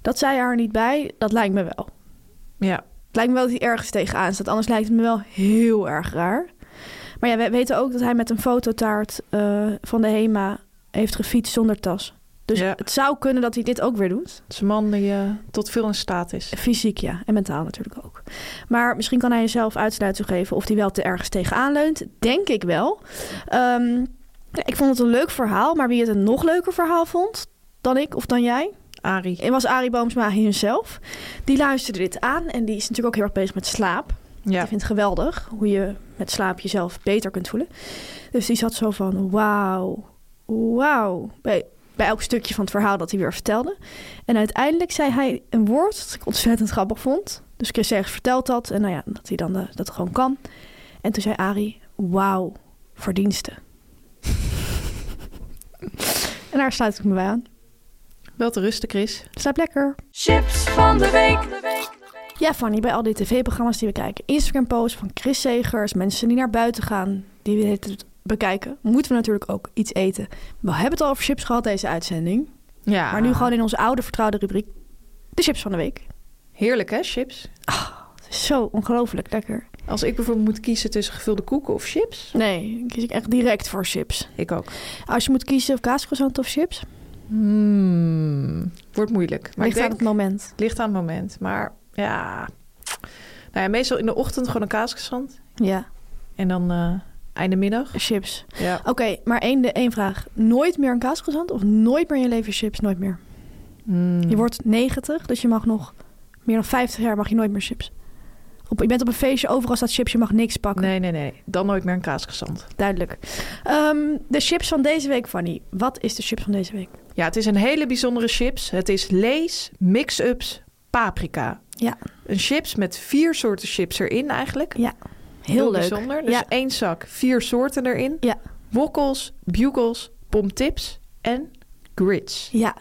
Speaker 8: Dat zei hij er niet bij. Dat lijkt me wel.
Speaker 7: Ja.
Speaker 8: Het lijkt me wel dat hij ergens tegenaan staat. Anders lijkt het me wel heel erg raar. Maar ja, we weten ook dat hij met een fototaart eh, van de HEMA heeft gefietst zonder tas. Dus
Speaker 7: Ja.
Speaker 8: het zou kunnen dat hij dit ook weer doet.
Speaker 7: Het is een man die eh, tot veel in staat is.
Speaker 8: Fysiek, ja. En mentaal natuurlijk ook. Maar misschien kan hij jezelf uitsluiting geven of hij wel te ergens tegenaan leunt. Denk ik wel. Ehm, ik vond het een leuk verhaal, maar wie het een nog leuker verhaal vond dan ik of dan jij,
Speaker 7: Arie.
Speaker 8: was Arie Boomsma himself. Die luisterde dit aan en die is natuurlijk ook heel erg bezig met slaap.
Speaker 7: Ja.
Speaker 8: Ik vind het geweldig hoe je met slaap jezelf beter kunt voelen. Dus die zat zo van wauw, wauw. Bij, bij elk stukje van het verhaal dat hij weer vertelde. En uiteindelijk zei hij een woord dat ik ontzettend grappig vond. Dus Chris Segers vertelt dat en nou ja, dat hij dan eh, dat gewoon kan. En toen zei Arie, wauw, verdiensten. en daar sluit ik me bij aan.
Speaker 7: Wel te rusten, Chris.
Speaker 8: Slaap lekker.
Speaker 9: Chips van de week.
Speaker 8: Ja, Fanny, bij al die tv-programma's die we kijken. Instagram-posts van Chris Segers, mensen die naar buiten gaan, die we de hele tijd bekijken. Moeten we natuurlijk ook iets eten. We hebben het al over chips gehad, deze uitzending.
Speaker 7: Ja.
Speaker 8: Maar nu gewoon in onze oude vertrouwde rubriek, de chips van de week.
Speaker 7: Heerlijk, hè, chips?
Speaker 8: Het is zo ongelooflijk lekker.
Speaker 7: Als ik bijvoorbeeld moet kiezen tussen gevulde koeken of chips.
Speaker 8: Nee, dan kies ik echt direct voor chips.
Speaker 7: Ik ook.
Speaker 8: Als je moet kiezen of kaascroissant of chips, maar
Speaker 7: Hmm. Wordt moeilijk. Maar
Speaker 8: ligt
Speaker 7: ik
Speaker 8: aan
Speaker 7: denk,
Speaker 8: het moment.
Speaker 7: ligt aan het moment. Maar ja. Nou ja, meestal in de ochtend gewoon een kaasgezand.
Speaker 8: Ja,
Speaker 7: En dan eh, einde middag.
Speaker 8: chips.
Speaker 7: Ja.
Speaker 8: Oké, maar één, de, één vraag. Nooit meer een kaascroissant of nooit meer in je leven chips? Nooit meer. Je wordt 90, dus je mag nog meer dan 50 jaar mag je nooit meer chips. Op, je bent op een feestje, overal staat chips, je mag niks pakken.
Speaker 7: Nee, nee, nee. Dan nooit meer een kaasgezand.
Speaker 8: Duidelijk. Ehm, de chips van deze week, Fanny. Wat is de chips van deze week?
Speaker 7: Ja, het is een hele bijzondere chips. Het is lees, mix-ups, paprika.
Speaker 8: Ja,
Speaker 7: Een chips met vier soorten chips erin eigenlijk.
Speaker 8: ja. heel, leuk.
Speaker 7: bijzonder. Dus
Speaker 8: ja.
Speaker 7: één zak, vier soorten erin.
Speaker 8: ja,
Speaker 7: Wokkels, bugels, pomtips en grits.
Speaker 8: ja.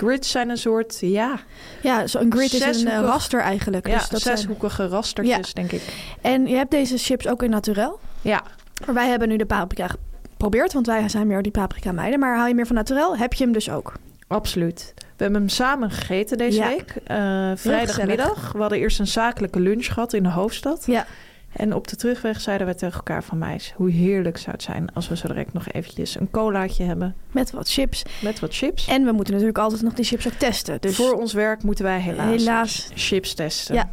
Speaker 7: Grits zijn een soort, ja,
Speaker 8: Ja, zo'n grid is een eh,
Speaker 7: Zeshoekig.
Speaker 8: raster eigenlijk.
Speaker 7: ja
Speaker 8: dus dat zijn-
Speaker 7: zeshoekige rastertjes, denk ik.
Speaker 8: En je hebt deze chips ook in naturel.
Speaker 7: Ja,
Speaker 8: Maar wij hebben nu de paprika geprobeerd, want wij zijn meer die paprika meiden. Maar hou je meer van naturel, heb je hem dus ook.
Speaker 7: absoluut. We hebben hem samen gegeten deze
Speaker 8: Ja.
Speaker 7: week. eh, vrijdagmiddag. We hadden eerst een zakelijke lunch gehad in de hoofdstad.
Speaker 8: Ja,
Speaker 7: En op de terugweg zeiden we tegen elkaar van meis... hoe heerlijk zou het zijn als we zo direct nog eventjes een colaatje hebben...
Speaker 8: met wat chips.
Speaker 7: met wat chips.
Speaker 8: En we moeten natuurlijk altijd nog die chips ook testen. Dus
Speaker 7: Voor ons werk moeten wij helaas,
Speaker 8: Helaas.
Speaker 7: chips testen.
Speaker 8: Ja,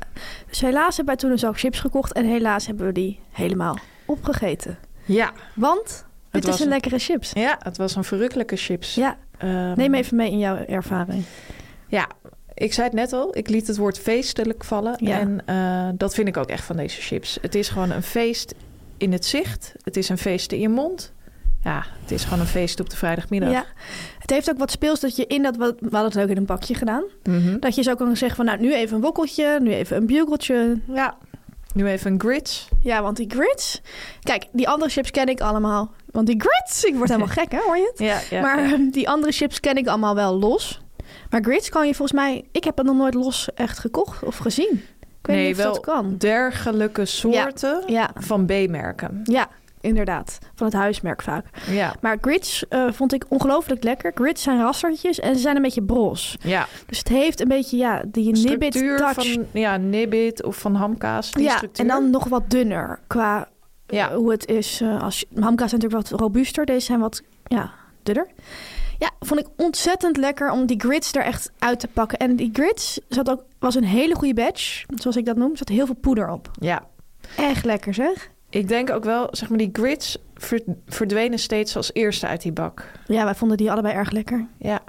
Speaker 8: dus helaas hebben wij toen dus ook chips gekocht en helaas hebben we die helemaal opgegeten.
Speaker 7: Ja,
Speaker 8: Want dit
Speaker 7: was
Speaker 8: is een
Speaker 7: een-
Speaker 8: lekkere chips.
Speaker 7: ja, het was een verrukkelijke chips.
Speaker 8: Ja,
Speaker 7: Ehm,
Speaker 8: neem even mee in jouw ervaring.
Speaker 7: Ja, ik zei het net al. Ik liet het woord feestelijk vallen.
Speaker 8: Ja.
Speaker 7: En eh, dat vind ik ook echt van deze chips. Het is gewoon een feest in het zicht. Het is een feest in je mond. Ja, het is gewoon een feest op de vrijdagmiddag.
Speaker 8: Ja. Het heeft ook wat speels dat je in dat... We hadden het ook in een bakje gedaan.
Speaker 7: Mhm.
Speaker 8: Dat je zo kan zeggen van nou, nu even een wokkeltje, nu even een bugeltje.
Speaker 7: ja. Nu even een grits.
Speaker 8: Ja, want die grits... Kijk, die andere chips ken ik allemaal. Want die grits, ik word helemaal gek hè, hoor je het?
Speaker 7: Ja, ja,
Speaker 8: maar
Speaker 7: ja.
Speaker 8: ehm, die andere chips ken ik allemaal wel los. Maar grits kan je volgens mij... Ik heb het nog nooit los echt gekocht of gezien. Ik weet
Speaker 7: nee,
Speaker 8: niet of
Speaker 7: wel
Speaker 8: dat kan.
Speaker 7: dergelijke soorten
Speaker 8: Ja,
Speaker 7: van B-merken.
Speaker 8: ja, inderdaad. Van het huismerk vaak.
Speaker 7: Ja,
Speaker 8: Maar grits eh, vond ik ongelooflijk lekker. Grits zijn rassertjes en ze zijn een beetje bros.
Speaker 7: ja.
Speaker 8: Dus het heeft een beetje ja, die nibbit
Speaker 7: structuur
Speaker 8: touch.
Speaker 7: van ja, nibbit of van hamkaas. Die
Speaker 8: ja,
Speaker 7: structuur.
Speaker 8: en dan nog wat dunner qua eh,
Speaker 7: Ja.
Speaker 8: hoe het is. eh, als je, hamka's zijn natuurlijk wat robuuster. Deze zijn wat ja, dunner. Ja, vond ik ontzettend lekker om die grits er echt uit te pakken. En die grits zat ook, was een hele goede batch, zoals ik dat noem. Er zat heel veel poeder op.
Speaker 7: Ja,
Speaker 8: Echt lekker zeg.
Speaker 7: ik denk ook wel, zeg maar, die grits ver- verdwenen steeds als eerste uit die bak.
Speaker 8: Ja, wij vonden die allebei erg lekker.
Speaker 7: Ja.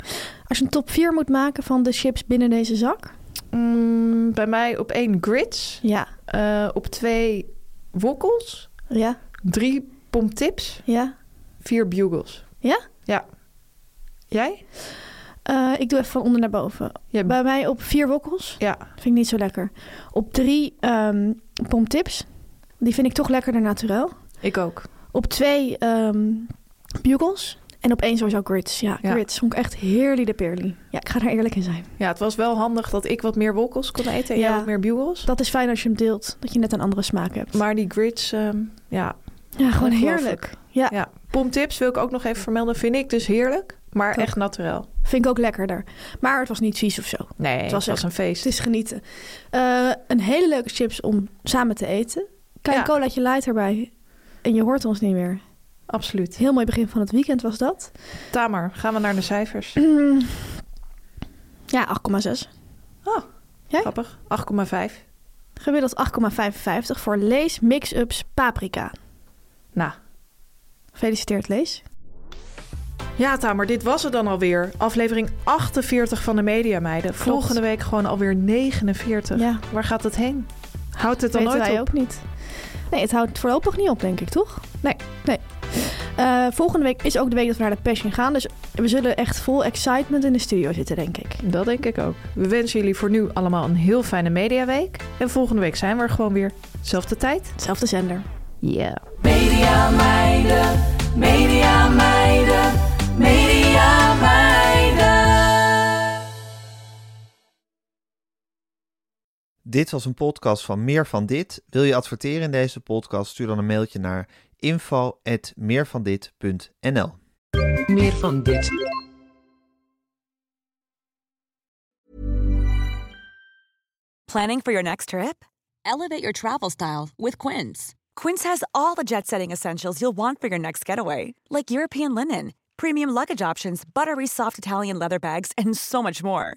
Speaker 8: Als je een top 4 moet maken van de chips binnen deze zak.
Speaker 7: Mm, bij mij op één grits,
Speaker 8: Ja,
Speaker 7: eh, op twee wokkels,
Speaker 8: ja,
Speaker 7: drie pomtips,
Speaker 8: ja.
Speaker 7: vier bugles.
Speaker 8: Ja?
Speaker 7: Ja. Jij?
Speaker 8: Eh, ik doe even van onder naar boven.
Speaker 7: Ja.
Speaker 8: Bij mij op vier wokkels.
Speaker 7: ja.
Speaker 8: Vind ik niet zo lekker. Op drie ehm pomtips. Die vind ik toch lekkerder naturel.
Speaker 7: Ik ook.
Speaker 8: Op twee ehm bugles. En op één sowieso grits. Ja,
Speaker 7: Ja.
Speaker 8: grits vond ik echt heerlijk de perlie. Ja, ik ga daar eerlijk in zijn.
Speaker 7: Ja, het was wel handig dat ik wat meer wokkels kon eten en
Speaker 8: Ja.
Speaker 7: jij wat meer bugles.
Speaker 8: Dat is fijn als je hem deelt. Dat je net een andere smaak hebt.
Speaker 7: Maar die grits, ehm, ja.
Speaker 8: ja, gewoon
Speaker 7: ongelooflijk.
Speaker 8: heerlijk. Ja.
Speaker 7: ja. Pomtips wil ik ook nog even vermelden, vind ik dus heerlijk, maar echt naturel.
Speaker 8: Vind ik ook lekkerder. Maar het was niet vies of zo.
Speaker 7: Nee, het was,
Speaker 8: was echt-
Speaker 7: een feest.
Speaker 8: Het is genieten. Eh, een hele leuke chips om samen te eten. Klein
Speaker 7: Ja.
Speaker 8: colaatje light erbij. En je hoort ons niet meer.
Speaker 7: Absoluut.
Speaker 8: Heel mooi begin van het weekend was dat.
Speaker 7: Tamer, gaan we naar de cijfers.
Speaker 8: Ja, 8,6.
Speaker 7: Oh,
Speaker 8: Jij?
Speaker 7: grappig. 8,5.
Speaker 8: Gemiddeld 8,55 voor Lees Mix-Ups Paprika.
Speaker 7: Nou,
Speaker 8: Gefeliciteerd, Lees.
Speaker 7: Ja, Tamer, dit was het dan alweer. Aflevering 48 van de Media Meiden. Volgende week gewoon alweer 49.
Speaker 8: Ja.
Speaker 7: Waar gaat het heen? Houdt het dan
Speaker 8: Weten
Speaker 7: nooit
Speaker 8: wij
Speaker 7: op?
Speaker 8: ook niet. Nee, het houdt voorlopig niet op, denk ik, toch?
Speaker 7: Nee.
Speaker 8: Nee. Eh, volgende week is ook de week dat we naar de Passion gaan. Dus we zullen echt vol excitement in de studio zitten, denk ik.
Speaker 7: Dat denk ik ook. We wensen jullie voor nu allemaal een heel fijne mediaweek. En volgende week zijn we er gewoon weer. Zelfde tijd.
Speaker 8: Hetzelfde zender.
Speaker 7: Ja.
Speaker 9: Media meiden, media meiden, media meiden.
Speaker 5: Dit was een podcast van Meer van Dit. Wil je adverteren in deze podcast? Stuur dan een mailtje naar info.meervandit.nl
Speaker 10: Meer van dit.
Speaker 11: Planning for your next trip? Elevate your travel style with Quince. Quince has all the jet setting essentials you'll want for your next getaway, like European linen, premium luggage options, buttery soft Italian leather bags, and so much more.